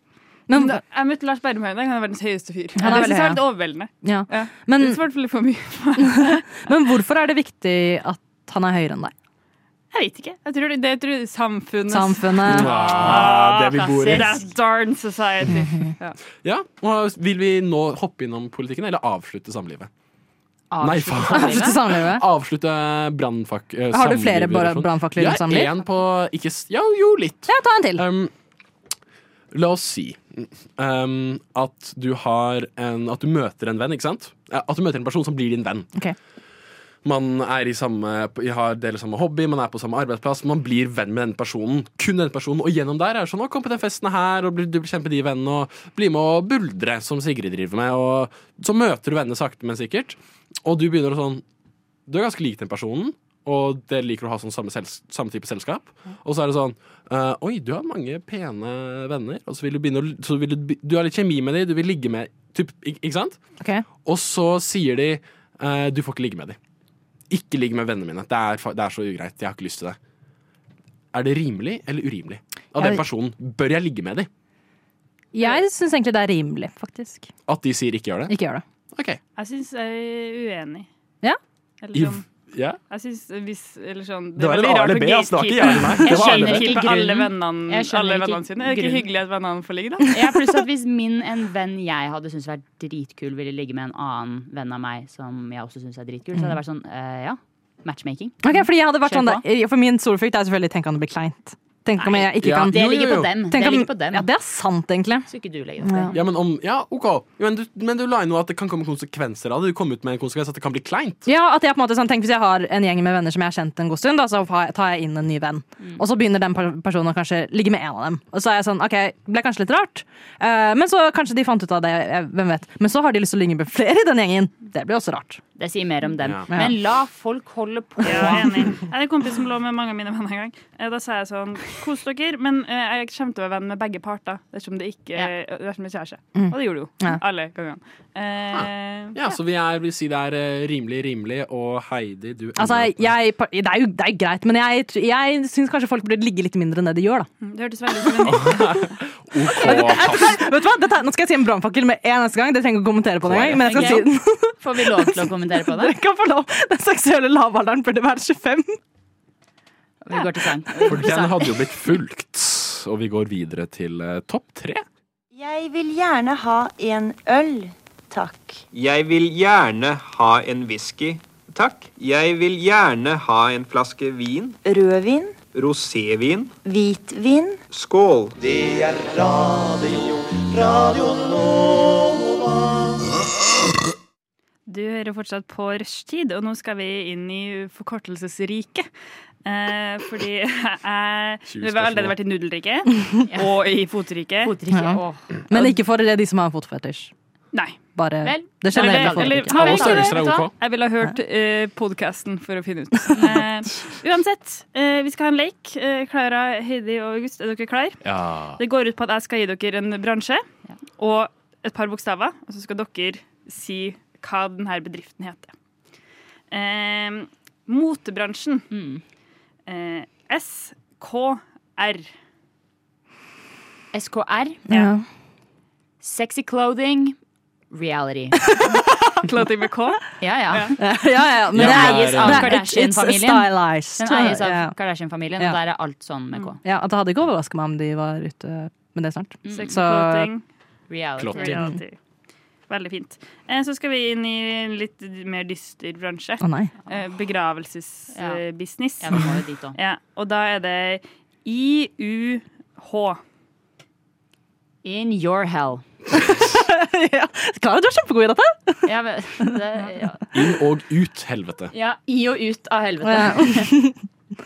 C: Men-
D: Da- jeg møtte Lars Berrum her i dag. Han er verdens høyeste fyr.
C: Han er
D: det synes jeg
C: veldig høy,
D: var litt overveldende.
C: Ja.
D: Ja.
C: Men,
D: Det svarte litt for mye.
C: men hvorfor er det viktig at han er høyere enn deg?
D: Jeg vet ikke. Jeg tror det, det jeg tror samfunnet
C: Samfunnet
A: Ah, det vi bor i.
D: That darn society. Ja.
A: Ja, og Vil vi nå hoppe innom politikken, eller avslutte samlivet? Nei, faen.
C: Avslutte samlivet?
A: Avslutte brannfak... eh,
C: Har du flere
A: samlivet,
C: bar-
A: eller sånn?
C: brannfakler
A: Ja,
C: rundt samliv?
A: en på ikke, s- Ja, jo, litt.
C: Ja, ta en til.
A: Um, la oss si um, at du har en At du møter en venn, ikke sant? Eh, At du møter en person som blir din venn.
C: Ok.
A: Man er i samme, har deler samme hobby, man er på samme arbeidsplass. Man blir venn med denne personen. Kun denne personen. Og gjennom der er det sånn 'Å, kom på den festen her', og bli- du blir kjent med de vennene, og bli med og buldre, som Sigrid driver med. Og så møter du vennene sakte, men sikkert. Og du begynner å sånn Du er ganske lik den personen, og dere liker å ha sånn samme, sels samme type selskap. Og så er det sånn eh, Oi, du har mange pene venner. Og så vil du begynne å så vil du, be- du har litt kjemi med dem, du vil ligge med typ, ikke, ikke sant?
C: Ok.
A: Og så sier de eh, Du får ikke ligge med dem. Ikke ligg med vennene mine. Det er, fa- det er så ugreit. Jeg har ikke lyst til det. Er det rimelig eller urimelig? Av den
C: Jeg-
A: personen bør jeg ligge med dem?
C: Jeg syns egentlig det er rimelig, faktisk.
A: At de sier ikke gjør det?
C: Ikke gjør det.
A: OK.
D: Jeg syns jeg er uenig.
C: Ja?
D: Eller
A: I,
D: sånn,
A: ja.
D: jeg synes hvis, eller sånn,
A: Det var en A eller B, altså. Det var ikke ja eller nei. Det
H: Jeg
A: var A
H: skjønner
A: eller B.
H: ikke
D: Keeper alle
H: grunnen.
D: vennene,
H: Jeg skjønner
D: alle
H: ikke
D: vennene sine. Er det ikke
H: grunnen.
D: hyggelig at vennene får ligge, da?
H: Ja, pluss at hvis min en venn jeg hadde syntes vært dritkul, ville ligge med en annen venn av meg som jeg også syns er dritkul, så hadde det vært sånn eh, ja, matchmaking.
C: Ok, fordi jeg hadde vært
H: Kjør
C: sånn der, For min store frykt er selvfølgelig tenk om det blir kleint. Tenk om jeg ikke
A: Ja.
C: kan
H: Det
A: Jo, jo,
H: ligger
A: jo.
H: på dem. Det
C: tenk om,
H: ligger på dem.
C: Ja, det er sant, egentlig.
H: Så ikke du legger opp det.
C: Ja.
A: Ja, men om Ja, OK. Men du, men du la inn noe at det kan komme konsekvenser av det. Du kom ut med en konsekvens at det kan bli kleint.
C: Ja, at jeg på en måte sånn, tenk Hvis jeg har en gjeng med venner som jeg har kjent en god stund, da, så har jeg- tar jeg inn en ny venn. Og så begynner den per- personen å kanskje ligge med en av dem. Og så er jeg sånn, ok, ble kanskje litt rart. Eh, men så kanskje de fant ut av det, eh, hvem vet. Men så har de lyst til å ligge med flere i den gjengen. Det blir også rart.
H: Det sier mer om dem.
A: Ja.
H: Men la folk holde på.
D: Jeg er enig. Jeg hadde en kompis som lå med mange av mine venner en gang. Eh, Da sa jeg sånn Kos dere, men eh, jeg kommer til å være venn med begge parter dersom det ikke
H: Ja. Mm.
D: dersom det er kjæreste. Og det gjorde du jo.
C: Ja.
D: Alle gangene.
H: Ah.
D: Eh,
A: Ja, så vi er, vil si det er eh, rimelig, rimelig. Og Heidi, du
C: Altså,
A: ender opp-
C: jeg, det, er jo, det er jo greit, men jeg, tr- jeg syns kanskje folk burde ligge litt mindre enn det de gjør. Da.
D: det hørtes veldig ut som en
A: OK, pass.
C: Vet du hva? Dette, nå skal jeg si en brannfakkel med en eneste gang. Dere trenger ikke å kommentere på det engang. Men jeg skal
H: Ok.
C: si den.
H: Får vi lov til å kommentere på det?
C: Dere kan få lov. Den seksuelle lavalderen burde være 25.
H: Vi går til sang.
A: For den hadde jo blitt fulgt. Og vi går videre til eh, topp tre.
I: Jeg vil gjerne ha en øl, takk.
J: Jeg vil gjerne ha en whisky, takk. Jeg vil gjerne ha en flaske vin.
I: Rødvin,
J: Rosévin.
I: hvitvin.
J: Skål.
D: Du hører fortsatt på rushtid, og nå skal vi inn i forkortelsesriket. Eh, fordi jeg
A: Tjue
D: Vi har
A: spørsmål.
D: allerede vært i nudelriket og i fotriket.
H: Fotriket. Åh.
C: Men ikke for det er de som har fotfetisj.
D: Nei.
C: Bare
D: Vel,
C: det generelle
D: eller-
C: forbruket.
D: eller- Nei, vet du hva? Jeg ville ha hørt eh, podkasten for å finne ut. Eh, uansett, eh, vi skal ha en lek. Eh, Klara, Heidi og August, er dere klare?
J: Ja.
D: Det går ut på at jeg skal gi dere en bransje og et par bokstaver, og så skal dere si hva denne bedriften heter. Eh, motebransjen. Eh, SKR.
H: SKR.
C: Ja.
H: Sexy clothing. Reality.
D: clothing med K?
H: Ja, ja.
C: Ja, ja, ja, men
H: Den
C: det er-
H: eies av
C: det er-
H: Kardashian-familien.
C: it's stylized.
H: Den eies av
C: Ja.
H: Kardashian-familien,
C: Ja.
H: og
C: Mm.
H: der er alt sånn med K.
C: Ja, at Det hadde ikke overraska meg om de var ute med det snart.
H: Mm.
D: Sex
C: Så-
D: clothing.
H: Reality.
C: Clothing.
D: Reality. Veldig fint. Eh, Så skal vi inn i en litt mer dyster bransje.
C: Å, nei.
D: Eh, Begravelsesbusiness.
H: Ja, vi må jo dit også.
D: Ja, og da er det IUH.
H: In your hell.
C: Klara, du er kjempegod i dette!
H: Ja, men, det, ja.
A: Inn og ut helvete.
H: ja, i og ut av helvete.
D: Ja.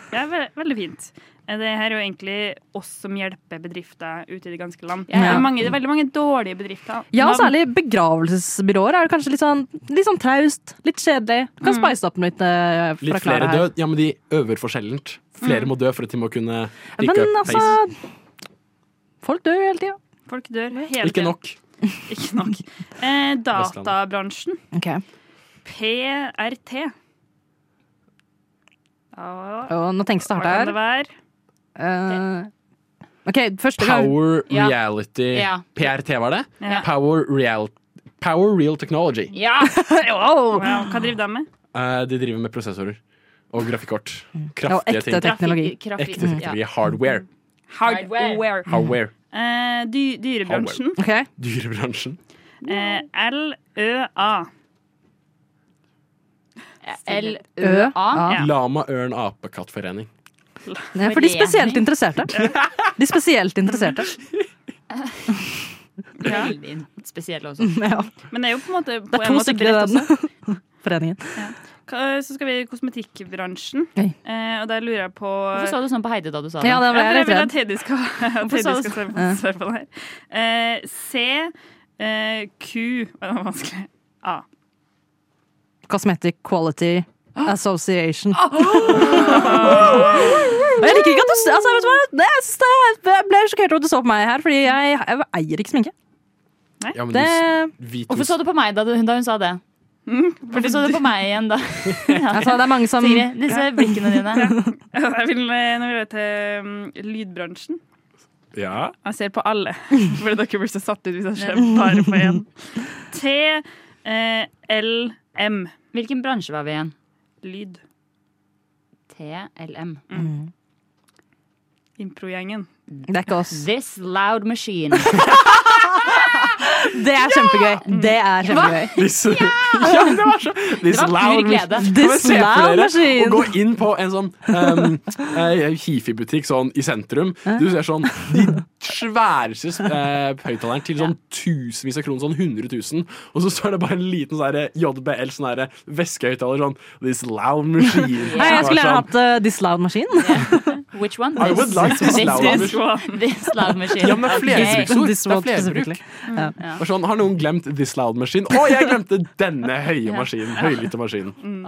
D: det er ve veldig fint. Eh, Det her er jo egentlig oss som hjelper bedrifter ute i det ganske land.
C: Ja.
D: Det, er mange, det er veldig mange dårlige bedrifter.
C: Ja, og
D: Navn-
C: særlig begravelsesbyråer er det kanskje litt sånn, litt sånn traust, litt kjedelig. Du kan spice det opp litt eh, fra
A: Litt flere
C: Klara her.
A: død. Ja, men de øver for sjeldent. Flere må dø for at de må kunne
C: Mm. Men
A: rykke opp
C: altså
A: pace.
C: Folk dør jo hele tida.
D: Folk dør hele tiden.
A: Ikke nok.
D: Ikke nok. Eh, databransjen.
C: Ok.
D: PRT. Ja,
C: Og nå tenkes det hardt
D: hva kan
C: her.
D: det være?
C: Eh, OK, første gang.
A: Power
C: Ja.
A: reality
C: Ja.
A: PRT var det?
D: Ja.
A: Power, real, power real technology.
D: Ja! Hva driver de med?
A: Eh, de driver med prosessorer og grafikkort. Kraftige
C: Mm. ekte
A: ting.
C: teknologi. Mm.
A: Ekte
D: Grafikk-
A: teknologi.
D: ja.
A: Hardware.
D: Hardware.
A: Hardware.
D: Eh, dy dyrebransjen.
C: Hardware.
A: Dyrebransjen.
D: Eh, LØA.
C: LØA? Ja.
A: Lama, ørn, apekattforening.
C: Nei, For de spesielt interesserte. De spesielt interesserte.
D: Ja.
H: Veldig spesiell også.
C: Ja.
D: Men det er jo på en måte på
C: Det er
D: en
C: to
D: måte
C: stykker i
D: bredt også.
C: den foreningen.
D: Ka- Så skal vi i kosmetikkbransjen.
C: Oi.
D: Eh, og der lurer jeg på
H: Hvorfor sa du sånn på Heidi da du sa det?
C: Ja, det var
D: for
C: jeg
D: jeg vil
C: litt
D: at Heidi skal, at
H: Hvorfor
D: Heidi
H: sa du
D: skal svare
H: sånn?
D: på, svare på det her. Eh, C, eh, Q Å, Det var vanskelig. A.
C: Cosmetic Quality Association. Og Jeg liker ikke at du altså, vet du hva? Det, jeg synes det, jeg ble sjokkert over at du så på meg her, fordi jeg, jeg eier ikke sminke.
A: Ja, men
C: Det-
A: du, vi to
H: Hvorfor så du på meg da, du, da hun sa det? Hvorfor så du på meg igjen da?
C: Altså, det er mange som
H: Sigrid, disse blikkene dine.
D: Jeg vil, eh, nå vil jeg til mm, lydbransjen.
A: Ja.
D: Jeg ser på alle, fordi dere blir så satt ut hvis jeg ser bare på én. T, eh, L, M.
H: Hvilken bransje var vi igjen?
D: Lyd.
H: TLM.
A: Mm.
D: Improgjengen.
C: Det er ikke oss.
H: This loud machine.
C: Det er kjempegøy. Det er kjempegøy.
A: This, ja! men det var så This
C: Det var pur
A: loud
C: glede.
A: machine. Kan dere
C: This
A: se for
C: loud
A: dere
C: machine.
A: Å gå inn på en sånn um, eh, hifi-butikk sånn i sentrum. Du ser sånn de sværeste uh, høyttaleren til sånn tusenvis av kroner, sånn 100 000, og så står det bare en liten sånn her JBL sånn her væskehøyttaler sånn This loud machine.
C: Nei, jeg
A: Bare
C: skulle gjerne
A: sånn,
C: hatt uh, This Loud Machine.
H: Which one?
A: I would like this loud
H: machine. This loud machine.
A: Ja, men det
H: Ok.
A: er flerbruksord.
C: This
A: Det er flerbruk.
C: one specifically. Ja.
A: Bare Sånn, har noen glemt this loud machine? Å, jeg glemte denne høye maskinen. Høylytte maskinen.
D: Mm.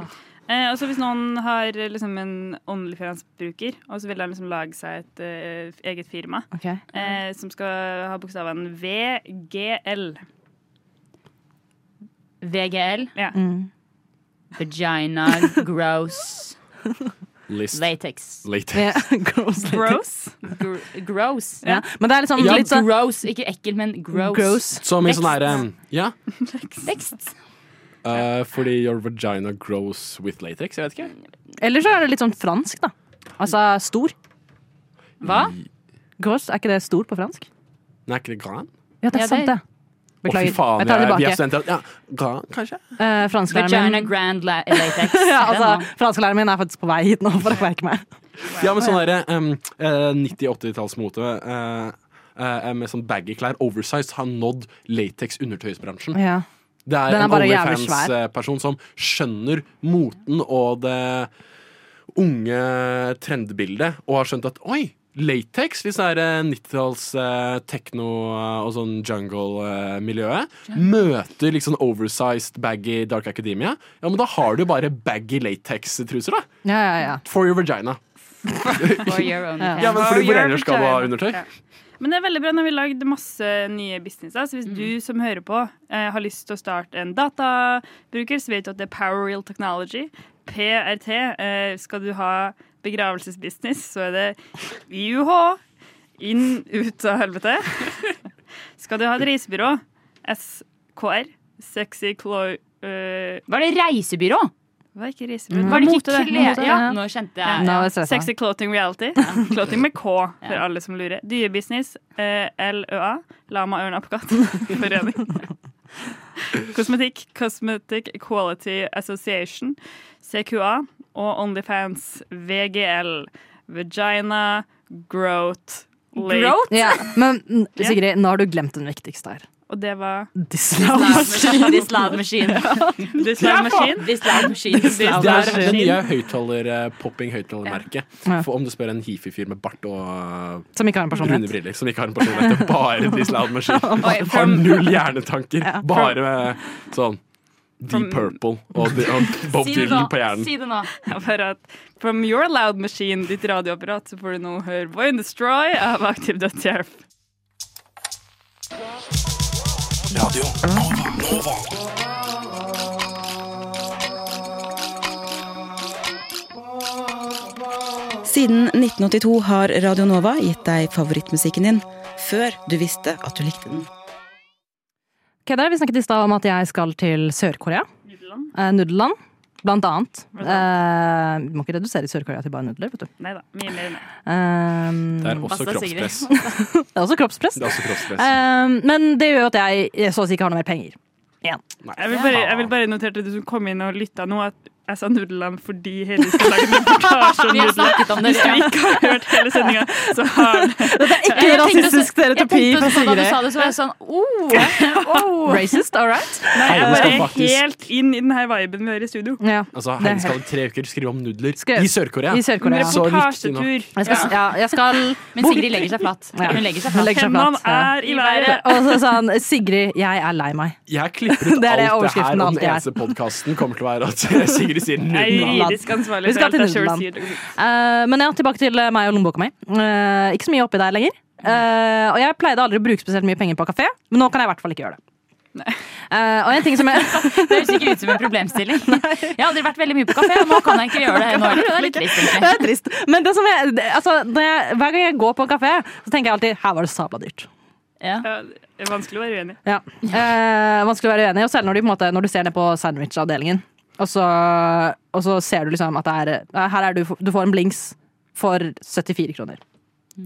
D: Eh, og så hvis noen har eh, liksom en OnlyFans-bruker, og så vil de liksom lage seg et eh, eget firma,
C: Ok.
D: eh, som skal ha bokstaven VGL.
H: VGL.
D: Ja.
H: Vagina, gross,
A: List.
H: latex.
A: Latex.
C: Ja, gross.
D: Gross.
H: Gr gross.
C: Ja. Men det er liksom
H: Ikke
C: litt sånn
H: gross, ikke ekkel, men gross.
C: Gross.
A: Som i sånn herre Ja.
H: Vekst.
A: Eh, fordi your vagina grows with latex. Jeg vet ikke.
C: Eller så er det litt sånn fransk, da. Altså stor.
H: Hva?
C: Gross, er ikke det stor på fransk?
A: Nei, er ikke det gran?
C: Ja, det
H: Ja,
C: er sant, det.
A: Å, fy
C: Beklager.
A: faen,
C: Jeg tar
A: vi er-
C: det
A: Vi er
C: tilbake.
A: studenter. Ja, gran, kanskje?
C: Eh, Fransklæreren
H: Vagina
C: min
H: grand la latex.
C: ja,
H: Den
C: altså,
H: også.
C: Fransklæreren min er faktisk på vei hit nå for å kverke meg.
A: Ja, men sånn derre um, 90-80-tallsmote eh, med sånn baggy klær, oversized, har nådd latex-undertøysbransjen.
C: Ja.
A: Det er,
C: Den er
A: en
C: bare jævlig
A: OnlyFans-person som skjønner moten og det unge trendbildet, og har skjønt at oi, latex, litt sånn her, eh, 90-talls eh, techno eh, og sånn jungle-miljøet, møter litt sånn oversized baggy dark academia, ja, men da har du bare baggy latex-truser, da.
C: Ja, ja, ja.
A: For your vagina.
H: For your own
A: Ja, men fordi hvor ellers skal du ha undertøy?
D: Ja. Men det er veldig bra. Nå har vi lagd masse nye businesser. Så hvis
A: Mm.
D: du som hører på, eh, har lyst til å starte en databruker, så vet du at det er Power Real Technology. PRT. Eh, skal du ha begravelsesbusiness, så er det IUH. Inn, ut av helvete. skal du ha et reisebyrå, SKR. Sexy Clo... eh,
H: Var det reisebyrå?
D: Var ikke reisebyrå?
H: Mm.
D: Var det ikke
H: Mote,
D: kle-
H: mote,
D: Ja.
H: ja. Nå kjente jeg- Nå er jeg stressa.
D: Sexy Clothing Reality. Clothing med K, for alle som lurer. Dyrebusiness, eh, LØA. Lama, ørn, apekatt. Forening. Kosmetikk, Cosmetic Quality Association, CQA. Og Onlyfans, VGL. Vagina, Growth, Late.
C: Ja, men mm, Sigrid, nå har du glemt den viktigste her.
D: Og det var
C: Disloud-maskin.
H: Disloud-maskin.
D: Disloud-maskin.
H: Disloud-maskin.
A: Det er det nye
H: Disloud-maskin.
A: høyttaler, eh, popping høyttalermerket. For Om du spør en hifi-fyr med bart og eh,
C: Som ikke har en personlighet.
A: runde briller, som ikke har en personlighet, og bare Disloud-maskin,
C: Oi,
A: har null hjernetanker, bare med sånn Deep Purple og, og Bob
D: Si det
A: Dylan
D: nå.
A: på hjernen.
D: Si det nå. Bare at from your loud machine, ditt radioapparat, så får du nå høre Void and Destroy av Aktiv Dødshjelp.
E: Radio Nova. Nova.
F: Siden 1982 har Radio Nova gitt deg favorittmusikken din før du visste at du likte den.
C: Ok, der, Vi snakket i stad om at jeg skal til Sør-Korea. Nudelland. Eh, nudelland, blant annet. Eh, vi må ikke redusere Sør-Korea til bare nudler, vet du.
D: Nei da. Mye mer enn det.
C: Ehm,
A: Det er også Basta, Sigrid. kroppspress.
C: det er også kroppspress.
A: Det er også kroppspress.
C: Ehm, men det gjør jo at jeg, jeg så å si ikke har noe mer penger. Igjen.
D: Jeg vil bare, jeg vil bare notere til du som kom inn og lytta nå, at jeg sa Nudeland fordi Heli skal lage en reportasje om
H: Vi har snakket om det,
D: Hvis du
H: ja.
D: ikke har hørt hele sendinga, så har den
C: Dette er ikke rasistisk stereotypi
H: Jeg tenkte
C: fra
H: også da du
C: Sigrid.
H: sa det, så var jeg sånn oh, oh.
C: Racist, all right?
D: Nei, jeg
A: Heidi
D: bare
A: skal
D: er
A: faktisk-
D: helt inn i den her viben vi har i studio.
A: Altså,
D: Det er
A: Heidi skal i tre uker skrive om nudler i
D: Skrev-
A: Sør-Korea.
D: i Sør-Korea. En
A: Så riktig nok.
D: reportasjetur.
C: Jeg skal, ja, jeg skal
H: Men Sigrid legger seg flatt.
C: Ja.
H: Hun legger seg flatt.
D: Hendene er
C: flatt,
D: i været.
C: Og så sa han Sigrid, jeg er lei meg.
A: Jeg klipper ut
C: Det er
A: alt det
C: det
A: her,
C: overskriften
A: og den
C: alltid er.
A: eneste podkasten kommer til å være at Sigrid sier
D: Jeg er
A: nudler.
D: juridisk ansvarlig
C: Vi
D: for
C: skal
D: alt
C: til
D: jeg sjøl
C: Nudeland.
D: sier.
C: Eh, men ja, tilbake til eh, meg og lommeboka mi. Eh, ikke så mye oppi der lenger. Eh, og jeg pleide aldri å bruke spesielt mye penger på kafé, men nå kan jeg i hvert fall ikke gjøre det. Eh, og en ting som jeg
H: Det høres ikke ut som en problemstilling. Jeg har aldri vært veldig mye på kafé, og nå kan jeg ikke gjøre det nå heller. Det er litt trist,
C: Det
H: egentlig.
C: er trist. Men det som jeg, det- altså, når jeg, hver gang jeg går på en kafé, så tenker jeg alltid her var det sabla dyrt.
D: Ja, det er vanskelig å være uenig.
C: Ja. Eh, vanskelig å være uenig, og selv når, de, på en måte, når du ser ned på sandwichavdelingen, og, så- og så ser du liksom at det er, eh, her er du, du får en blinks for 74 kroner.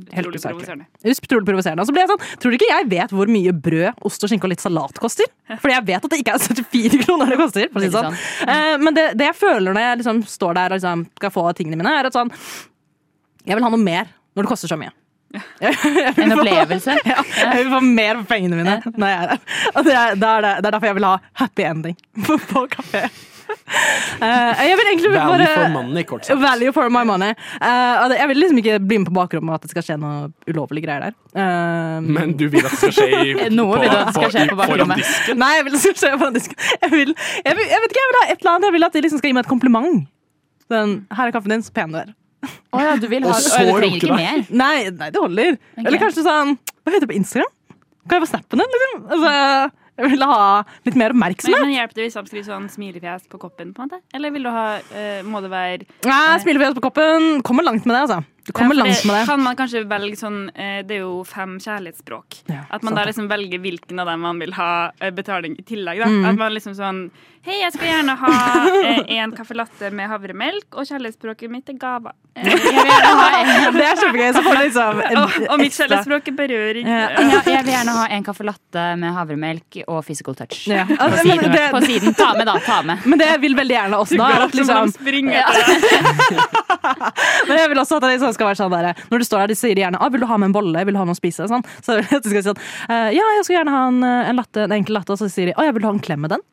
C: Helt
D: Utrolig
C: usaklig.
D: provoserende.
C: Utrolig provoserende. Og så ble jeg sånn, tror du ikke jeg vet hvor mye brød, ost og skinke og litt salat koster? Fordi jeg vet at det ikke er 74 kroner det koster. For å si det sånn. Eh, men det, det jeg føler når jeg liksom står der og liksom skal få tingene mine, er at sånn Jeg vil ha noe mer når det koster så mye.
H: En opplevelse.
C: Ja, jeg vil få mer for pengene mine når jeg er der. Og det er, da er det, det er derfor jeg vil ha happy ending på, på kafé. Eh, jeg vil egentlig bare
A: Value for money, kort sagt.
C: Value for my money. Eh, og det- jeg vil liksom ikke bli med på bakrommet at det skal skje noe ulovlige greier der. Eh,
A: Men du vil at det skal skje i,
C: Noe vil du at skal skje på
A: i- foran
C: bakrommet.
A: disken.
C: Nei, jeg vil ikke se på den disken. Jeg, vil, jeg, vil, jeg vet ikke, jeg vil ha et eller annet. Jeg vil at de liksom skal gi meg et kompliment. Den, her er kaffen din, så pen du er.
H: Å ja, du vil ha
C: Og så
H: Å, Du trenger
C: runke
H: ikke
C: deg.
H: mer.
C: Nei, nei, det holder. Eller kanskje sånn Hva heter det på Instagram? Kan jeg få snappen din, liksom? Altså, jeg vil ha litt mer
D: Men,
C: oppmerksomhet.
D: men hjelper det hvis han skriver sånn smilefjes på koppen, på en måte? Eller vil du ha eh, Må det være
C: Nei, Smilefjes på koppen. Kommer langt med det, altså. Du kommer
D: Ja, for
C: langt med det.
D: Kan man kanskje velge sånn eh, Det er jo fem kjærlighetsspråk. at man da liksom velger hvilken av dem man vil ha eh, betaling i tillegg. Da.
C: Mm.
D: At man liksom sånn Hei, jeg skal gjerne ha eh, en caffè latte med havremelk, og kjærlighetsspråket mitt er gava. Eh, jeg vil gjerne ha en-
C: Det er kjempegøy. Så får du liksom en
D: og, og mitt
C: ekstra-
D: kjærlighetsspråk er berøring.
H: Ja, jeg vil gjerne ha en caffè latte med havremelk og physical touch.
C: Ja.
H: På,
C: Altså, men
H: siden,
C: det-
H: på siden. Ta med, da. Ta med.
C: Men det jeg vil veldig gjerne også, da, er at liksom Men jeg vil også at det liksom skal være sånn der, Når du står der, de sier gjerne ah, 'Vil du ha med en bolle? Vil du ha noe å spise?' Sånn. Så jeg vil at du skal si sånn «Eh, 'Ja, jeg skulle gjerne ha en, eh, en, latte, en enkel latte.' Og så sier de 'Å, jeg vil ha en klem med den'.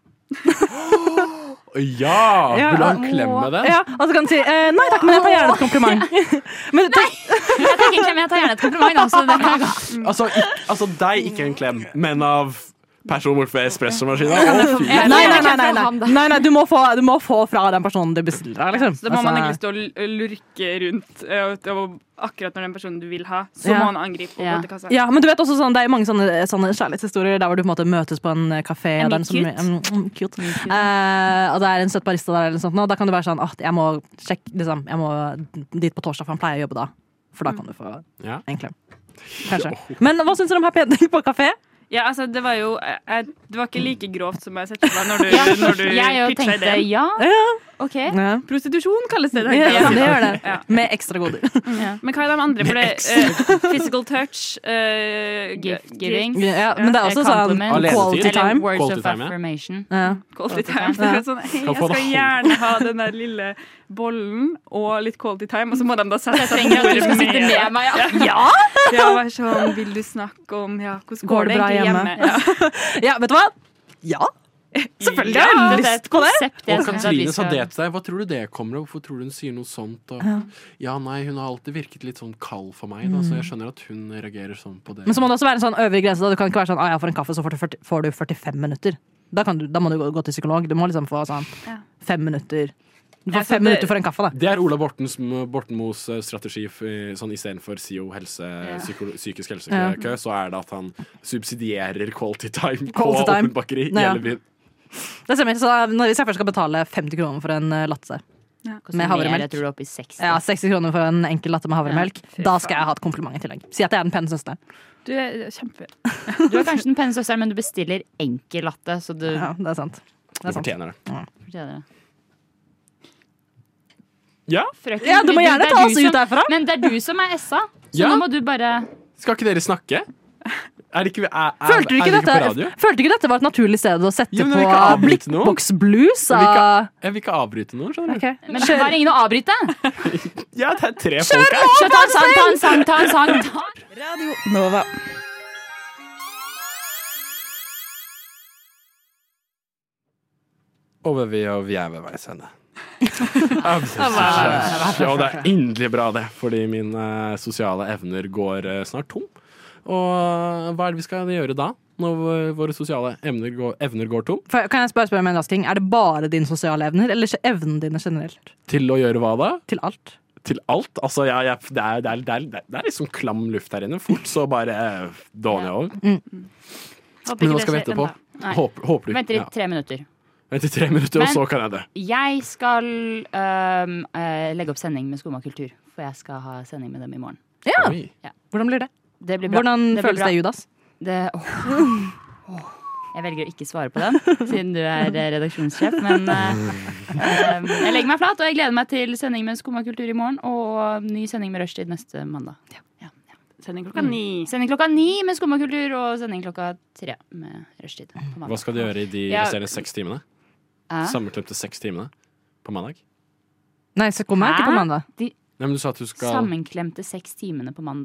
A: Ja!
C: Ja,
A: Vil du ha en
C: og-
A: klem med den?
C: Ja, og så kan du si eh, nei takk, men jeg tar gjerne et kompliment. Men,
K: Jeg tenker ikke, men jeg tar gjerne et kompliment også. Det kan jeg godt.
A: Altså, ikk, altså deg, ikke en klem, men av personen borte ved espressomaskina. Å, fy.
C: Nei, nei, nei, nei, nei. nei, nei du, må få, du må få fra den personen du bestiller av. Liksom.
D: Så da må man egentlig
C: Altså,
D: stå og l- lurke rundt, eh, og- og akkurat når den personen du vil ha, så
C: Ja.
D: må han angripe og gå til kassa.
C: ja, men du vet også sånn, Det er mange sånne, sånne kjærlighetshistorier der hvor du på en måte møtes på en eh, kafé.
D: Er
C: Og det
D: de
C: er en sånn-
D: cute?
C: mm, mm, cute. Eh, og det er en søt barista der, eller noe sånt, nå, og da kan du være sånn at jeg må sjekke liksom, Jeg må dit på torsdag, for han pleier å jobbe da.
D: Mm.
C: For da kan du få
A: Ja.
C: en klem. Kanskje. Men hva syns dere om happy ending på kafé?
D: Ja, altså, det var jo eh, eh, Det var ikke like grovt som jeg setter for meg når du, når du
B: Jeg jo
D: pitcha
B: tenkte
D: ideen.
B: ja.
D: OK.
C: Ja.
D: Prostitusjon kalles det. tenkte
C: Ja,
D: jeg.
C: det gjør det.
D: Ja.
C: Med ekstra goder.
D: Men hva er de andre? For det eh, Physical touch eh,
B: Gift giving.
C: Ja, men det er også sånn
B: Compliment.
C: quality
B: Eller
C: time.
B: Words
A: Quality
B: of
A: time, ja.
B: affirmation.
C: Ja.
D: Quality
B: time.
D: time. Det er Sånn, hei,
A: Kan
D: jeg
A: få det
D: skal gjerne ha den der lille bollen og litt quality time, og så må de da sette
K: Jeg trenger at du skal sitte
D: bordet
K: med meg, ja.
D: Ja, ja vær sånn, vil du snakke om ja, hvordan
C: Går
D: går
C: det
D: det
C: bra
D: egentlig hjemme?
C: hjemme? Ja, vet du hva? Ja. Selvfølgelig
D: Ja,
C: har jeg
B: det er
C: lyst
B: et
C: på det. sånn
B: konsept jeg
A: Og
B: synes at vi
A: Katrine sa
B: skal-
A: det til deg. Hva tror du det kommer av? Hvorfor tror du hun sier noe sånt? Og, ja, nei, hun har alltid virket litt sånn kald for meg, da, så jeg skjønner at hun reagerer sånn på det.
C: Mm. Men så må det også være en sånn øvre grense. Da. Du kan ikke være sånn ah, ja, for en kaffe så får du, 40, får du 45 minutter. Da, kan du, da må du gå, gå til psykolog. Du må liksom få sånn fem minutter. Du får
D: Ja, så
C: fem
D: det-
C: minutter for en kaffe, da.
A: Det er Ola Bortens, Bortenmos eh, strategi f- sånn istedenfor SIO helse, psyko, psykisk helsekø, så er det at han subsidierer quality time på
C: Quality time.
A: åpent bakeri i
C: Ja.
A: hele byen.
C: Det stemmer. Så da- når, hvis jeg først skal betale 50 kroner for en eh, latte med
B: Mer, Jeg
C: havremelk
B: tror det er oppe i 60.
C: ja, 60 kroner for en enkel latte med havremelk.
B: fy
C: da skal jeg ha et kompliment i tillegg. Si at jeg er den pene søsteren.
D: Du er kjempe...
B: Du er kanskje den pene søsteren, men du bestiller enkel latte, så du
C: Ja, det er sant. Det
A: Du
C: er sant.
A: fortjener det.
B: fortjener det.
A: Ja,
B: Frøken,
C: Ja, du må gjerne
B: det er
C: ta
B: du
C: oss ut
B: som-
C: derfra.
B: Men det er du som er SA, så
A: Ja.
B: nå må du bare
A: skal ikke dere snakke? Er det ikke, er, er,
C: Følte du, ikke
A: er det
C: dette,
A: på radio?
C: følte du ikke dette var et naturlig sted å sette
A: Jo, men jeg vil
C: på
A: ikke avbryte noen.
C: Blikkboks Blues? Ah,
A: Jeg vil ikke,
C: av-
A: jeg vil ikke avbryte noen, skjønner du.
C: Ok.
B: Men det var ingen å avbryte!
A: Ja, det er tre folk her.
B: Så ta en sang, ta en sang, ta en sang! Ta.
L: Nova.
A: Og vi, og vi er ved veis ende. Ja, og det er inderlig bra, det, fordi mine eh, sosiale evner går eh, snart tom. Og eh, hva er det vi skal gjøre da, når våre sosiale evner går, evner går tom?
C: For, kan jeg bare spørre om en rask ting? Er det bare dine sosiale evner, eller ikke evnene dine generelt?
A: Til å gjøre hva da?
C: Til alt?
A: Til alt? Altså, ja, ja, det, er, det, er, det, er, det er liksom klam luft her inne. Fort så bare eh, dårlig over. Men nå skal vi etterpå.
B: Nei.
A: Håper, håper du
B: Vent i
A: ja.
B: tre minutter.
A: Vent i tre minutter, og
B: Men-
A: så kan jeg dø.
B: Jeg skal øhm, øh, legge opp sending med Skumma kultur, for jeg skal ha sending med dem i morgen.
C: Ja!
A: Oi.
C: Hvordan blir det?
B: Det blir bra.
C: Hvordan
B: det blir
C: føles
B: bra.
C: det, Judas?
B: Det, åh. Åh. Jeg velger å ikke svare på den, siden du er eh, redaksjonssjef. Men eh, eh, jeg legger meg flat, og jeg gleder meg til sending med Skumma kultur i morgen. Og ny sending med Rushtid neste mandag. Ja. Mm.
D: Sending klokka ni.
B: Sending klokka ni med Skumma kultur, og sending klokka tre med Rushtid. på mandag.
A: Hva skal du gjøre i de
B: Ja.
A: resterende seks timene?
B: Hæ?
A: Sammenklemte seks timene på mandag?
C: Nei, så kommer jeg ikke på
B: Hæ?
C: mandag.
A: Nei, men du sa at du skal
B: Sammenklemte seks timene på mandag.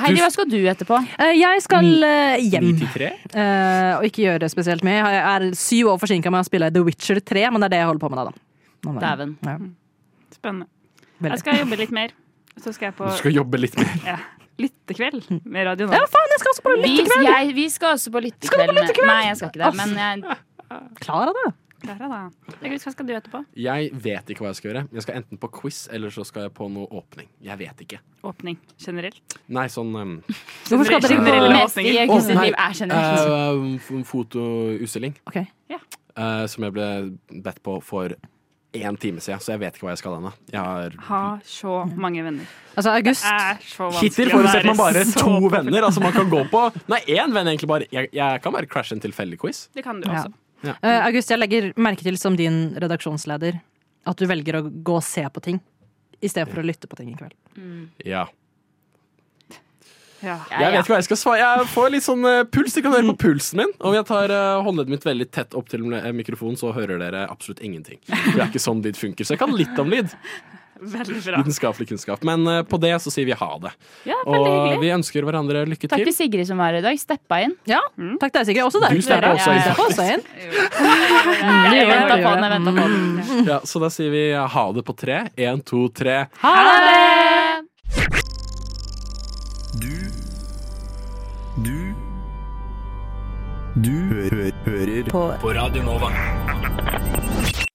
B: Heidi, hva skal du etterpå?
C: Eh, Jeg skal eh, hjem
A: 9 til 3?
C: eh, og ikke gjøre spesielt mye. Jeg er syv år forsinka med å spille The Witcher 3, men det er det jeg holder på med da. da. Nå er jeg-
B: Dæven.
C: Ja,
D: Spennende.
C: veldig.
D: Jeg skal jobbe litt mer. Så skal jeg på
A: Du skal jobbe litt mer.
D: lyttekveld med Radio
C: ja,
D: Nova.
C: faen, jeg skal også på
B: Vi,
C: lyttekveld!
B: jeg, vi skal også på lyttekveld. med- Nei, jeg skal ikke det. Men jeg,
C: Klar av det.
D: Klara, da. Hva skal du etterpå?
A: Jeg vet ikke hva jeg skal gjøre. Jeg skal enten på quiz, eller så skal jeg på noe åpning. Jeg vet ikke.
D: Åpning generelt.
A: Nei, sånn um,
C: Hvorfor skal dere
D: Generelle
C: ikke
B: mest i
D: åpninger.
B: Kristin
A: Å, nei.
B: Liv er generelt.
A: eh, f- fotoutstilling
C: Ok.
A: eh, som jeg ble bedt på for én time siden, så jeg vet ikke hva jeg skal ennå. Jeg har
D: Ha så mange venner.
C: Altså, august
B: Ah.
D: Er så vanskelig
A: Hittil
D: å
A: Mm. forutsetter
D: være
A: man bare
D: så-
A: to venner. Altså Man kan gå på Nei, én venn, egentlig bare. Jeg, jeg kan bare crashe en tilfeldig quiz.
D: Det kan du
C: Ja.
D: også.
C: Eh, August, jeg legger merke til som din redaksjonsleder at du velger å gå og se på ting istedenfor å lytte på ting i kveld.
A: Ja.
D: Ja.
A: Jeg vet ikke hva jeg skal svare. Jeg får litt sånn eh, puls. Dere kan høre på pulsen min. Om jeg tar eh, håndleddet mitt veldig tett opp til eh, mikrofonen, så hører dere absolutt ingenting. Det er ikke sånn lyd funker. Så jeg kan litt om lyd.
D: Veldig bra.
A: Vitenskapelig kunnskap. Men eh, på det så sier vi ha det.
B: Ja, veldig
A: og
B: hyggelig.
A: vi ønsker hverandre lykke til.
B: Takk til Sigrid som var her i dag. Steppa inn.
C: Ja,
B: Mm.
C: takk til deg, Sigrid. Også
A: Du steppa også inn, faktisk.
C: inn.
B: Jeg venta på den. Jeg ventet på den.
A: Ja, så da sier vi ha det på tre. Én, to, tre.
B: Ha det!
M: Du Du hø hø hører
N: På-
M: på Radio Nova.